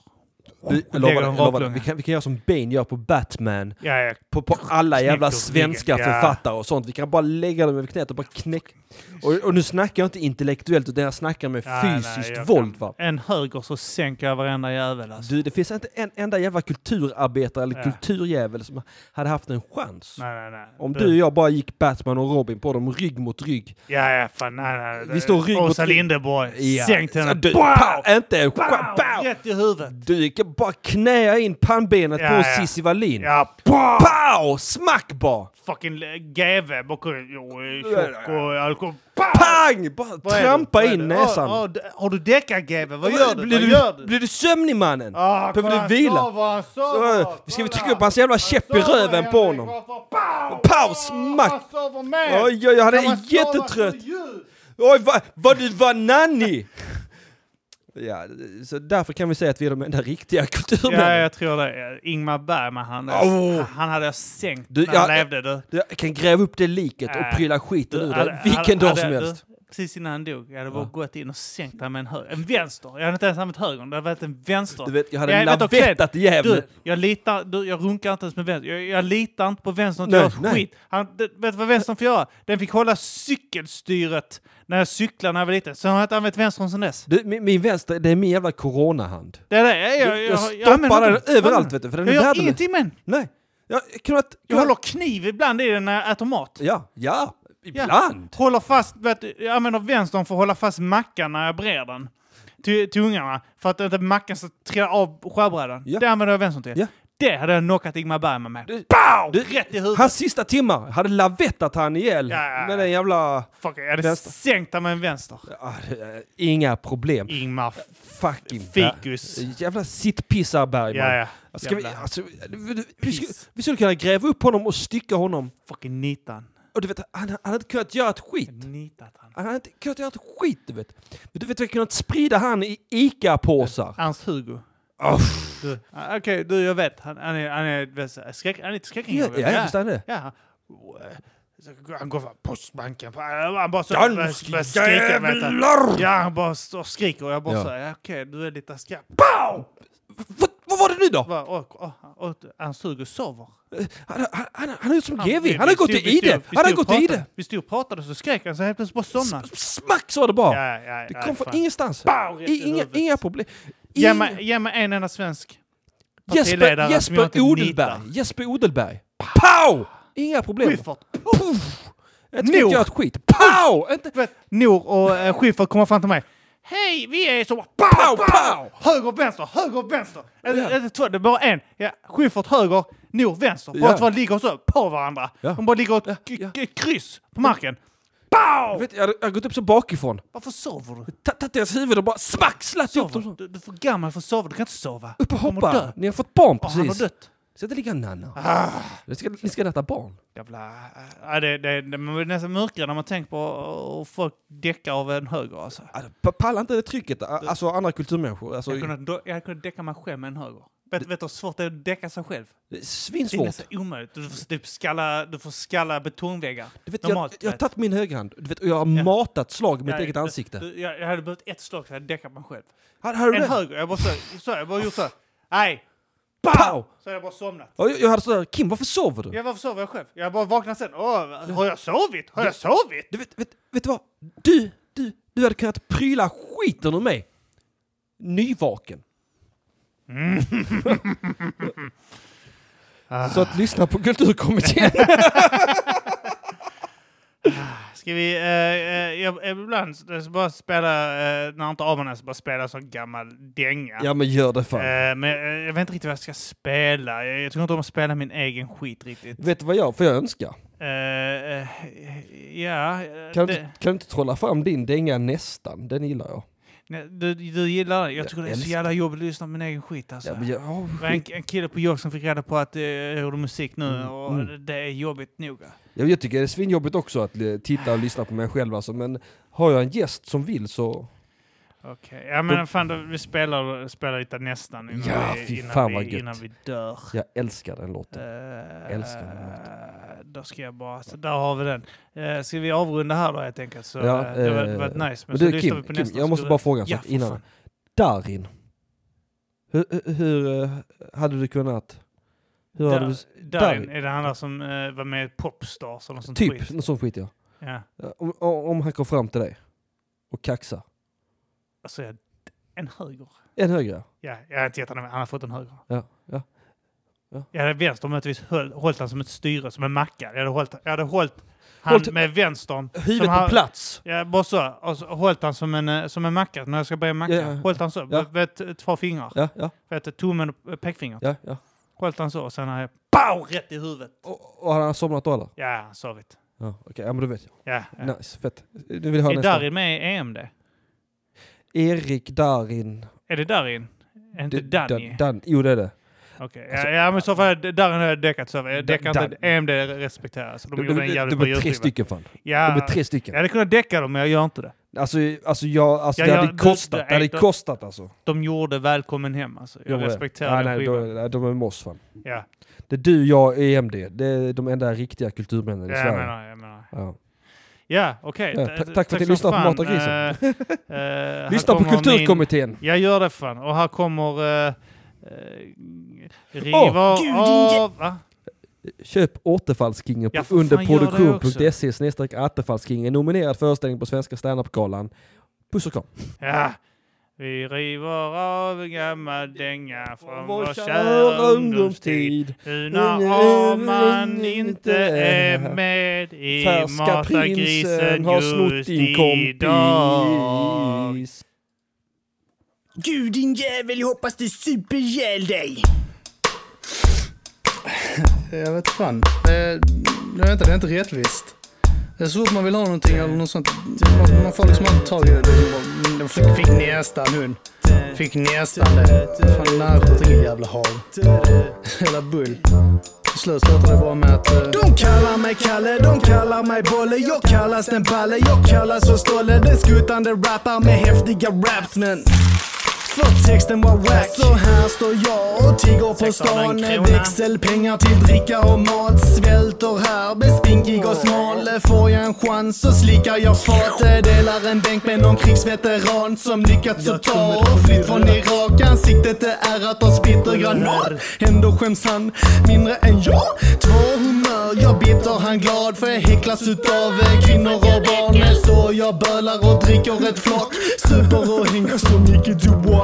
Speaker 2: Du, jag
Speaker 1: lägger
Speaker 2: lovar,
Speaker 1: dem
Speaker 2: det, jag lovar, det.
Speaker 1: raklånga.
Speaker 2: vi, kan, vi kan göra som Bane gör på Batman.
Speaker 1: Ja, ja.
Speaker 2: På, på alla
Speaker 1: Snyggt
Speaker 2: jävla
Speaker 1: och
Speaker 2: svenska
Speaker 1: snyggt, ja.
Speaker 2: författare och sånt. Vi kan bara lägga dem över knät och bara knäcka. Och, och nu snackar jag inte intellektuellt utan jag snackar med
Speaker 1: Ja,
Speaker 2: fysiskt
Speaker 1: nej, jag
Speaker 2: våld
Speaker 1: kan-
Speaker 2: va.
Speaker 1: En höger så sänker jag varenda jävel alltså.
Speaker 2: Du, det finns inte en enda jävla kulturarbetare eller
Speaker 1: Ja.
Speaker 2: kulturjävel som hade haft en chans.
Speaker 1: Nej, nej, nej.
Speaker 2: Om du och jag bara gick Batman och Robin på dem rygg mot rygg.
Speaker 1: Ja, ja, fan nej, nej.
Speaker 2: Vi står rygg mot
Speaker 1: Åsa
Speaker 2: rygg.
Speaker 1: Linderborg. Sänkt henne.
Speaker 2: Så Alltså, Du,
Speaker 1: Pow!
Speaker 2: pow, inte en chans.
Speaker 1: Pow!
Speaker 2: Pow!
Speaker 1: Rätt i huvudet.
Speaker 2: Du kan bara knäa in pannbenet
Speaker 1: Ja,
Speaker 2: på
Speaker 1: ja.
Speaker 2: Cissi Wallin.
Speaker 1: Ja, pow!
Speaker 2: Pow! Smack bara!
Speaker 1: Fucking eh, GV bakom. Jo, eh, tjock och alkohol. Pow!
Speaker 2: Pang! Bara
Speaker 1: Vad är det?
Speaker 2: trampa
Speaker 1: Vad är
Speaker 2: in
Speaker 1: det?
Speaker 2: näsan.
Speaker 1: Åh, åh, d- har du däckat GV? Vad gör du?
Speaker 2: blir,
Speaker 1: Vad gör du?
Speaker 2: blir du sömnig mannen?
Speaker 1: Ah,
Speaker 2: Behöver
Speaker 1: kolla,
Speaker 2: du vila?
Speaker 1: han sover, han sover.
Speaker 2: Så, eh, ska
Speaker 1: Kolla.
Speaker 2: vi trycka upp hans jävla
Speaker 1: Han
Speaker 2: käpp i
Speaker 1: sover,
Speaker 2: röven
Speaker 1: Henrik
Speaker 2: på honom?
Speaker 1: Raffer. Pow!
Speaker 2: Pow, smack!
Speaker 1: Han sover med!
Speaker 2: Oj, oj, han
Speaker 1: Kan man
Speaker 2: är
Speaker 1: sova
Speaker 2: jättetrött.
Speaker 1: så djupt?
Speaker 2: Oj, vad vad du var nanny! ja, så därför kan vi säga att vi är de enda riktiga
Speaker 1: Ja,
Speaker 2: kulturmännen.
Speaker 1: jag tror det. Ingmar Bergman, han, eh,
Speaker 2: Åh.
Speaker 1: han hade jag sänkt
Speaker 2: Du,
Speaker 1: när han
Speaker 2: jag-
Speaker 1: levde. Du.
Speaker 2: Du, Jag kan gräva upp det liket och
Speaker 1: Äh,
Speaker 2: pryla skiten ur
Speaker 1: hade-
Speaker 2: det vilken
Speaker 1: hade-
Speaker 2: dag som
Speaker 1: hade- du,
Speaker 2: helst.
Speaker 1: Precis innan han dog, jag hade bara gått in och sänkt honom med en höger. En vänster. Jag hade inte ens använt högern, det hade varit en vänster.
Speaker 2: Du vet, jag hade
Speaker 1: Jag vet också-
Speaker 2: lavettat i
Speaker 1: Du,
Speaker 2: Gävle.
Speaker 1: jag litar, du, jag runkar inte ens med vänstern. Jag, jag litar inte på vänstern att
Speaker 2: Nej,
Speaker 1: göra ett
Speaker 2: nej.
Speaker 1: skit. Han, det, vet du vad vänstern får göra? Den fick hålla cykelstyret när jag cyklade när jag var liten. Så har jag inte använt vänstern sedan dess.
Speaker 2: Du, min, min vänster, det är min jävla coronahand.
Speaker 1: Det är det. Jag, jag,
Speaker 2: jag
Speaker 1: jag,
Speaker 2: stoppar
Speaker 1: använder
Speaker 2: den
Speaker 1: inte-
Speaker 2: överallt, vet du, för den är
Speaker 1: jag gör
Speaker 2: värdelös.
Speaker 1: ingenting med den.
Speaker 2: Nej. Jag, jag, kunnat,
Speaker 1: Jag håller kniv ibland i den när jag äter mat.
Speaker 2: Ja, ja.
Speaker 1: Ja.
Speaker 2: Ibland.
Speaker 1: Håller fast, vet, du, jag använder vänstern för att hålla fast mackan när jag brer den. Till till ungarna. För att inte mackan ska trilla av skärbrädan.
Speaker 2: Ja.
Speaker 1: Det använder jag vänstern till.
Speaker 2: Ja.
Speaker 1: Det hade jag knockat Ingmar Bergman med.
Speaker 2: Du-
Speaker 1: Pow!
Speaker 2: du-
Speaker 1: Rätt i huvudet.
Speaker 2: Hans sista timmar hade lavettat han ihjäl
Speaker 1: Ja, ja, ja.
Speaker 2: med den jävla...
Speaker 1: Fuck, jag hade
Speaker 2: Vänster.
Speaker 1: sänkt honom med en vänster.
Speaker 2: Ah, eh, inga problem.
Speaker 1: Ingmar
Speaker 2: Fucking...
Speaker 1: Fikus.
Speaker 2: Jävla sittpissar Bergman.
Speaker 1: Ja, ja.
Speaker 2: Ska vi,
Speaker 1: Jävla
Speaker 2: alltså, vi, vi, skulle,
Speaker 1: piss.
Speaker 2: vi skulle kunna gräva upp honom och stycka honom.
Speaker 1: Fucking nitan.
Speaker 2: Och du vet, han, han hade inte kunnat göra ett skit.
Speaker 1: Mm. Nitat han.
Speaker 2: Han hade inte kunnat göra ett skit, du vet. Men Du vet, vi hade kunnat sprida han i ICA-påsar.
Speaker 1: Ernst-Hugo.
Speaker 2: Uff.
Speaker 1: Du, ah, Okej, du jag vet. Han, han är, han är, vet du, skräck, han är inte
Speaker 2: Ja,
Speaker 1: skräckinjagad.
Speaker 2: ja, jag förstår det.
Speaker 1: Ja. Så Han går fram postbanken. Han bara så...
Speaker 2: Dansk
Speaker 1: börjar skrika, vet du.
Speaker 2: jävlar!
Speaker 1: Ja, han bara står och skriker och jag bara
Speaker 2: Ja.
Speaker 1: ja. säger ja, okej, du är lite skräck.
Speaker 2: Vad, vad var det nu då?
Speaker 1: Bara, Och, och, och, Ernst-Hugo sover.
Speaker 2: Han, han, han, han är gjort som
Speaker 1: Han-
Speaker 2: GV.
Speaker 1: vi-
Speaker 2: Han har
Speaker 1: vi
Speaker 2: gått
Speaker 1: stod-
Speaker 2: i
Speaker 1: vi stod-
Speaker 2: ID.
Speaker 1: vi
Speaker 2: Han har
Speaker 1: stod och
Speaker 2: gått i ID.
Speaker 1: pratade- Vi stod och pratade och så skrek han så helt plötsligt bara somnade han.
Speaker 2: Smack sa det bara.
Speaker 1: Ja, ja,
Speaker 2: Det
Speaker 1: ja,
Speaker 2: kom
Speaker 1: fan.
Speaker 2: från ingenstans.
Speaker 1: Pow, rätt i
Speaker 2: I- Inga,
Speaker 1: huvudet.
Speaker 2: inga problem.
Speaker 1: Ge
Speaker 2: Inga-
Speaker 1: mig, ge mig en enda svensk partiledare
Speaker 2: Jesper,
Speaker 1: som jag
Speaker 2: Jesper
Speaker 1: inte
Speaker 2: Odelberg.
Speaker 1: nitar.
Speaker 2: Jesper Odelberg. Pow! Inga problem.
Speaker 1: Schyffert.
Speaker 2: Puff! Jag
Speaker 1: Nor.
Speaker 2: tycker inte jag ett skit. Pow! Inte...
Speaker 1: Vet, Nor och eh, Schyffert kommer fram till mig. Hej, vi är så... Pow,
Speaker 2: Pow,
Speaker 1: pow,
Speaker 2: pow!
Speaker 1: Höger, vänster, höger, vänster. Eller,
Speaker 2: Ja.
Speaker 1: eller två, det är bara en. Ja, Schyffert höger, Nor vänster. Bara
Speaker 2: Ja.
Speaker 1: två ligger så på varandra.
Speaker 2: Ja.
Speaker 1: De bara ligger och k-
Speaker 2: ja.
Speaker 1: k- kryss på marken.
Speaker 2: Jag, vet, jag, har- jag har gått upp så bakifrån.
Speaker 1: Varför sover du?
Speaker 2: Ta- Tagit deras huvud och bara smack! Slatt upp dem
Speaker 1: Sover.
Speaker 2: så.
Speaker 1: Du, du är för gammal för att sova. Du kan inte sova.
Speaker 2: Upp och
Speaker 1: Du kommer dö.
Speaker 2: hoppa. Ni har fått barn
Speaker 1: Ja, han har
Speaker 2: precis.
Speaker 1: dött. Ah.
Speaker 2: Så det ligger en nanna. Ni ska, ni ska natta barn.
Speaker 1: Jävla... eh, Ja, det, det, det, man blir nästan mörkare när man tänker på och folk däckar av en höger. Alltså.
Speaker 2: Ja, pa- Pallar inte det trycket. Alltså andra kulturmänniskor. Alltså,
Speaker 1: Jag, kunde, då- jag hade kunnat däcka mig själv med en höger. Vet, vet du hur svårt det är att däcka sig själv?
Speaker 2: det är
Speaker 1: Det är
Speaker 2: Svinsvårt.
Speaker 1: nästan omöjligt. Du får, typ skalla, du får skalla betongväggar.
Speaker 2: Du vet, jag,
Speaker 1: Normalt,
Speaker 2: jag har
Speaker 1: vet.
Speaker 2: tagit min högerhand du vet, och jag har
Speaker 1: Ja.
Speaker 2: matat slag i mitt
Speaker 1: Ja,
Speaker 2: eget
Speaker 1: du-
Speaker 2: ansikte.
Speaker 1: Du, jag, jag hade behövt ett slag så jag hade däckat mig själv.
Speaker 2: Hade, hade du
Speaker 1: En
Speaker 2: det?
Speaker 1: höger. Jag bara så, så jag bara gjort så. här. Nej!
Speaker 2: Pow!
Speaker 1: Så hade jag bara somnat.
Speaker 2: Ja, jag, jag hade sådär, Kim varför sover du?
Speaker 1: Jag, varför sover jag själv? Jag bara vaknar sen. Åh, har jag sovit? Har jag sovit?
Speaker 2: Du vet, vet, vet du vad? Du, du, du hade kunnat pryla skiten ur mig. Nyvaken. Mm. Så att lyssna på Kulturkommittén.
Speaker 1: Ska vi... eh, eh, jag, ibland så så bara spela, eh, när inte Aman är så bara spela sån gammal dänga.
Speaker 2: Ja men gör det fan.
Speaker 1: Eh, men eh, jag vet inte riktigt vad jag ska spela. Jag, jag tycker inte om att spela min egen skit riktigt.
Speaker 2: Vet du vad jag, för jag önskar?
Speaker 1: Eh, eh, ja, eh,
Speaker 2: Kan, du
Speaker 1: det,
Speaker 2: inte- kan du inte trolla fram din dänga nästan? Den gillar jag.
Speaker 1: nej, du, du gillar det. Jag tycker det är så
Speaker 2: älskar-
Speaker 1: jävla jobbigt att lyssna på min egen skit alltså.
Speaker 2: Ja, men jag, ja,
Speaker 1: Det var en,
Speaker 2: skit.
Speaker 1: en kille på jobb som fick reda på att eh, jag gjorde musik nu
Speaker 2: Mm,
Speaker 1: och
Speaker 2: mm.
Speaker 1: det- det är jobbigt nog. eh.
Speaker 2: Ja, jag tycker det är svinjobbigt också att eh, titta och lyssna på mig själv alltså, men har jag en gäst som vill så...
Speaker 1: Okej, ja men fan då, vi spelar, spelar lite nästan innan,
Speaker 2: Ja,
Speaker 1: vi,
Speaker 2: fy
Speaker 1: innan,
Speaker 2: fan
Speaker 1: vi,
Speaker 2: vad gött.
Speaker 1: innan vi dör.
Speaker 2: Jag älskar den låten.
Speaker 1: Eh,
Speaker 2: Älskar den låten.
Speaker 1: Då ska jag bara, så där har vi den. Uh, ska vi avrunda här då helt enkelt? Så,
Speaker 2: Ja,
Speaker 1: eh, det var,
Speaker 2: eh,
Speaker 1: var nice. Men
Speaker 2: Men
Speaker 1: så
Speaker 2: du
Speaker 1: lyssnar vi
Speaker 2: Kim,
Speaker 1: på
Speaker 2: Kim
Speaker 1: nästa.
Speaker 2: jag måste bara fråga en sak innan. Darin. Hur, hur, hur eh, hade du kunnat... Hur hade du,
Speaker 1: Darin, är det han där som eh, var med i Popstars eller något sånt
Speaker 2: typ,
Speaker 1: skit?
Speaker 2: någon sån skit ja.
Speaker 1: Ja.
Speaker 2: Ja, Om, om om han kom fram till dig och kaxar.
Speaker 1: Alltså, jag, en höger.
Speaker 2: En högre.
Speaker 1: Ja, jag har inte gett honom, han har fått en höger.
Speaker 2: Ja, ja.
Speaker 1: Jag hade vänster om jag möjligtvis höll, hållit han som ett styre, som en macka. Jag hade hållit, jag hade hållit han
Speaker 2: Hållit-
Speaker 1: med vänstern.
Speaker 2: Huvudet
Speaker 1: Som han-
Speaker 2: på plats.
Speaker 1: Ja, bara så. Och så hållit han som en, eh, som en macka. När jag ska börja macka.
Speaker 2: Ja, ja.
Speaker 1: Hållit han så.
Speaker 2: Ja.
Speaker 1: Vet, två fingrar.
Speaker 2: Ja, ja,
Speaker 1: Vet, tummen och eh, pekfingret.
Speaker 2: ja. ja.
Speaker 1: Hållit han så. Och sen har jag pow, rätt i huvudet.
Speaker 2: Och, och han har somnat då eller?
Speaker 1: Ja, han sovit.
Speaker 2: Ja, okej. Ja, men då vet jag.
Speaker 1: Ja. ja.
Speaker 2: Nice, fett. Nu vill jag höra
Speaker 1: är
Speaker 2: nästa.
Speaker 1: Darin med i E EMD?
Speaker 2: Erik Darin.
Speaker 1: Är det Darin? Är inte
Speaker 2: D-
Speaker 1: Danny?
Speaker 2: Dan- Dan, jo, det är det.
Speaker 1: Okej.
Speaker 2: Alltså-
Speaker 1: Ja, ja, men i så fall är det- Darin har jag däckat så. Jag
Speaker 2: Da-
Speaker 1: däckar inte. E
Speaker 2: Dan-
Speaker 1: EMD respekteras. De
Speaker 2: De,
Speaker 1: gjorde en
Speaker 2: de,
Speaker 1: jävligt
Speaker 2: de
Speaker 1: bra
Speaker 2: är tre
Speaker 1: julskiva.
Speaker 2: stycken fan. De
Speaker 1: Ja.
Speaker 2: är tre stycken.
Speaker 1: Jag hade kunnat däcka dem, men jag gör inte det.
Speaker 2: Alltså, alltså, jag, alltså
Speaker 1: Ja,
Speaker 2: det
Speaker 1: ja,
Speaker 2: hade
Speaker 1: du-
Speaker 2: kostat.
Speaker 1: du-
Speaker 2: Det hade
Speaker 1: de-
Speaker 2: kostat alltså.
Speaker 1: De gjorde Välkommen hem alltså. Jag
Speaker 2: Ja,
Speaker 1: respekterar
Speaker 2: nej,
Speaker 1: den
Speaker 2: nej,
Speaker 1: skivan.
Speaker 2: de, nej, de är med oss fan.
Speaker 1: Ja,
Speaker 2: Det är du, jag, EMD. Det är de enda riktiga kulturmännen i
Speaker 1: ja jag
Speaker 2: Sverige.
Speaker 1: menar, jag menar.
Speaker 2: Ja.
Speaker 1: Ja, okej.
Speaker 2: Ja,
Speaker 1: Ta-
Speaker 2: ta- tack för att ni
Speaker 1: som
Speaker 2: lyssnade på
Speaker 1: fan.
Speaker 2: Mata
Speaker 1: Eh, eh, här
Speaker 2: Lyssna på
Speaker 1: kommer
Speaker 2: Kulturkommittén.
Speaker 1: Min... Jag gör det fan. Och här kommer... Uh, river
Speaker 2: Åh,
Speaker 3: gud, din jä-
Speaker 1: av... Va?
Speaker 2: Köp Återfallskingen
Speaker 1: Ja,
Speaker 2: på
Speaker 1: för fan, gör
Speaker 2: underproduktion.se E snedstreck Återfallskingen. Nominerad föreställning på Svenska standup-galan. Puss och kram.
Speaker 1: Ja. Vi river av en gammal dänga från vår
Speaker 2: kära
Speaker 1: kära ungdomstid. Nu när man inte är med i
Speaker 2: Färska prinsen
Speaker 1: Matagrisen
Speaker 2: har snott
Speaker 1: just
Speaker 2: din
Speaker 1: idag.
Speaker 2: kompis.
Speaker 3: Du din jävel, jag hoppas du super ihjäl dig!
Speaker 4: Eh, Jag vet fan. Det är, jag vet inte, det är inte rättvist. Det är så fort man vill ha någonting eller något sånt. Man, man får liksom aldrig tag i det. Man bara, Fick, fick nästan hon. Fick nästan det. Fan nära till jävla hav. Hela bull. Till slut slutar det bara med att... eh,
Speaker 3: De kallar mig Kalle, de kallar mig Bolle Jag kallas den Balle, jag kallas för Stolle Den skutande rappar med häftiga raps men för texten var wack Så här står jag och tigger på stan Växelpengar till dricka och mat Svälter här, blir spinkig och smal Får jag en chans så slickar jag fat Delar en bänk med någon krigsveteran Som lyckats att ta och flytt från Irak Ansiktet är ärrat av splittergranat Ändå skäms han mindre än jag Två humör, jag bitter, han glad För jag häcklas utav eh, kvinnor och barn Så jag bölar och dricker ett flak Super och hänger så mycket Dubois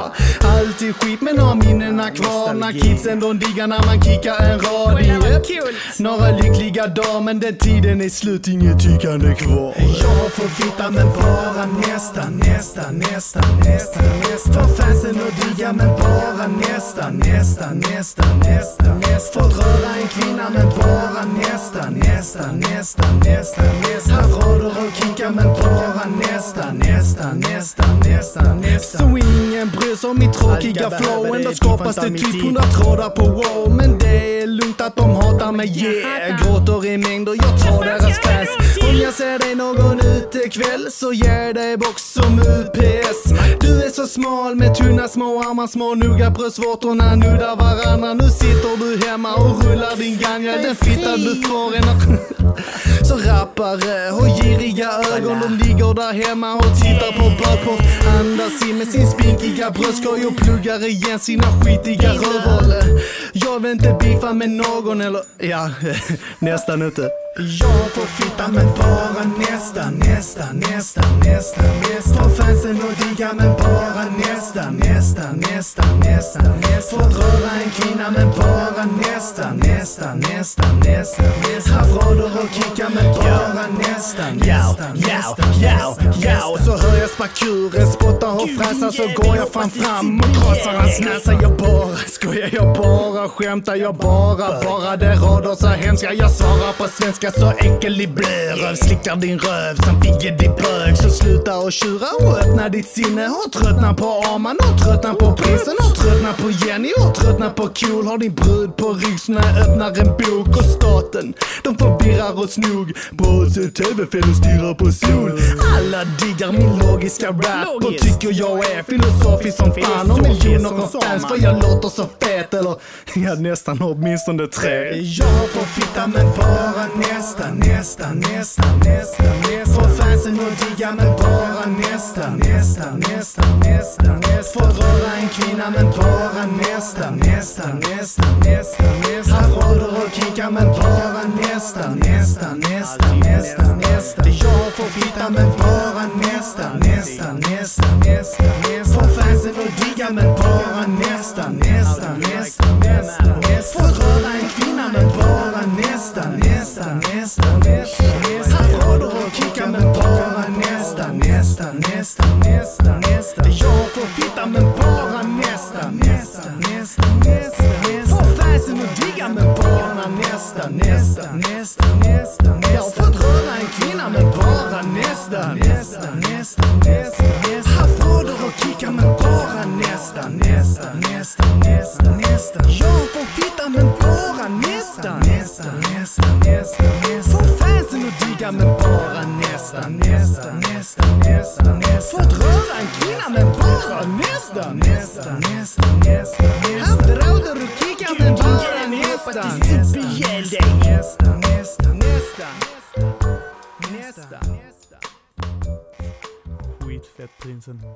Speaker 3: Alltid skit men har minnena kvar När kidsen de diggar när man kickar en rad i ett. Några lyckliga dagar men den tiden är slut, inget tyckande kvar Jag har fått fitta men bara nästan, nästan, nästan, nästan, nästan För fansen och digga men bara nästan, nästan, nästan, nästan, nästan Fått röra en kvinna men bara nästan, nästan, nästan, nästan, nästan Haft rader och kinkar men bara nästan, nästan, nästan, nästan, nästan Så ingen bryr sig om mitt tråkiga flow Ändå skapas det typ 100 trådar på wow Men det är lugnt att de hatar mig, yeah Gråter i mängder, jag tar deras fans Om jag ser dig någon utekväll så ger dig box som UPS Du är så smal med tunna små armar, små nugga bröstvårtorna nuddar varandra Nu sitter du hemma och rullar din ganja, den fittan du får en så rappare och giriga ögon De ligger där hemma och tittar på bögpop Andas in med sin spinkiga bröstkorg och pluggar igen sina skitiga rövhål Jag vill inte beefa med någon eller, ja, nästan inte Jag får fitta men bara nästa, nästa, nästa, nästa, nästa Får fansen att digga men bara nästa, nästa, nästa, nästa, nästa Får röra en kvinna men bara nästa, nästa, nästa, nästa, nästa Haft rader och kicka men bara nästa, nästa, nästa, nästa, nästa
Speaker 4: Och så hör jag sparkuren spotta och fräsa så går jag fan fram och krossar hans näsa. Alltså, Jag bara skojar, jag bara skämtar, jag bara bara det rader så hemska. Jag svarar på svenska så äcklig blir röv. Slickar din röv som digger ditt bög. Så sluta och tjura och öppna ditt sinne. Och tröttna på Arman och tröttna på prinsen och tröttna på Jenny och tröttna på Cool. Har din brud på ryggsnö, öppnar en bok och staten. De förvirrar oss nog. På sig tv-fel och stirrar på sol. Alla diggar min logiska rap och tycker jag är filosofisk som fan. Och miljoner av fans för jag låter så fet. Eller, ja nästan åtminstone tre.
Speaker 3: Jag får fitta men bara nästa, nästa, nästa, nästa, nästa Får fansen att digga men bara nästa, nästa, nästa, nästa, nästa Får röra en kvinna men bara nästa, nästa, nästa, nästa, nästa Haft rader och kicka men bara nästa, nästa, nästa, nästa, nästa Jag får fitta men bara nästa, nästa, nästa, nästa, nästa Får fansen att digga men bara nästa, nästa, nästa, nästa, nästa Får röra en kvinna men bara nästa, nästa, nästa, nästa, nästa Rader och kickar men bara nästa, nästa, nästa, nästa, nästa Jag får fitta men bara nästa, nästa, nästa, nästa, nästa Får fansen att digga men bara nästa, nästa, nästa, nästa, nästa Jag får röra en kvinna men bara nästa, nästa, nästa, nästa, nästa Haft rader och kickar men bara nästa, nästa, nästa, nästa, nästa Jag får fitta men bara nästa, nästa, nästa, nästa, nästa Får fansen att digga men bara nästa, nästa, nästa, nästa, nästa Får röra en kvinna men bara nästa, nästa, nästa, nästa, nästa Haft rader och kickar men bara nästa, nästa, nästa, nästa, nästa, nästa, nästa, nästa
Speaker 1: Skitfett prinsen.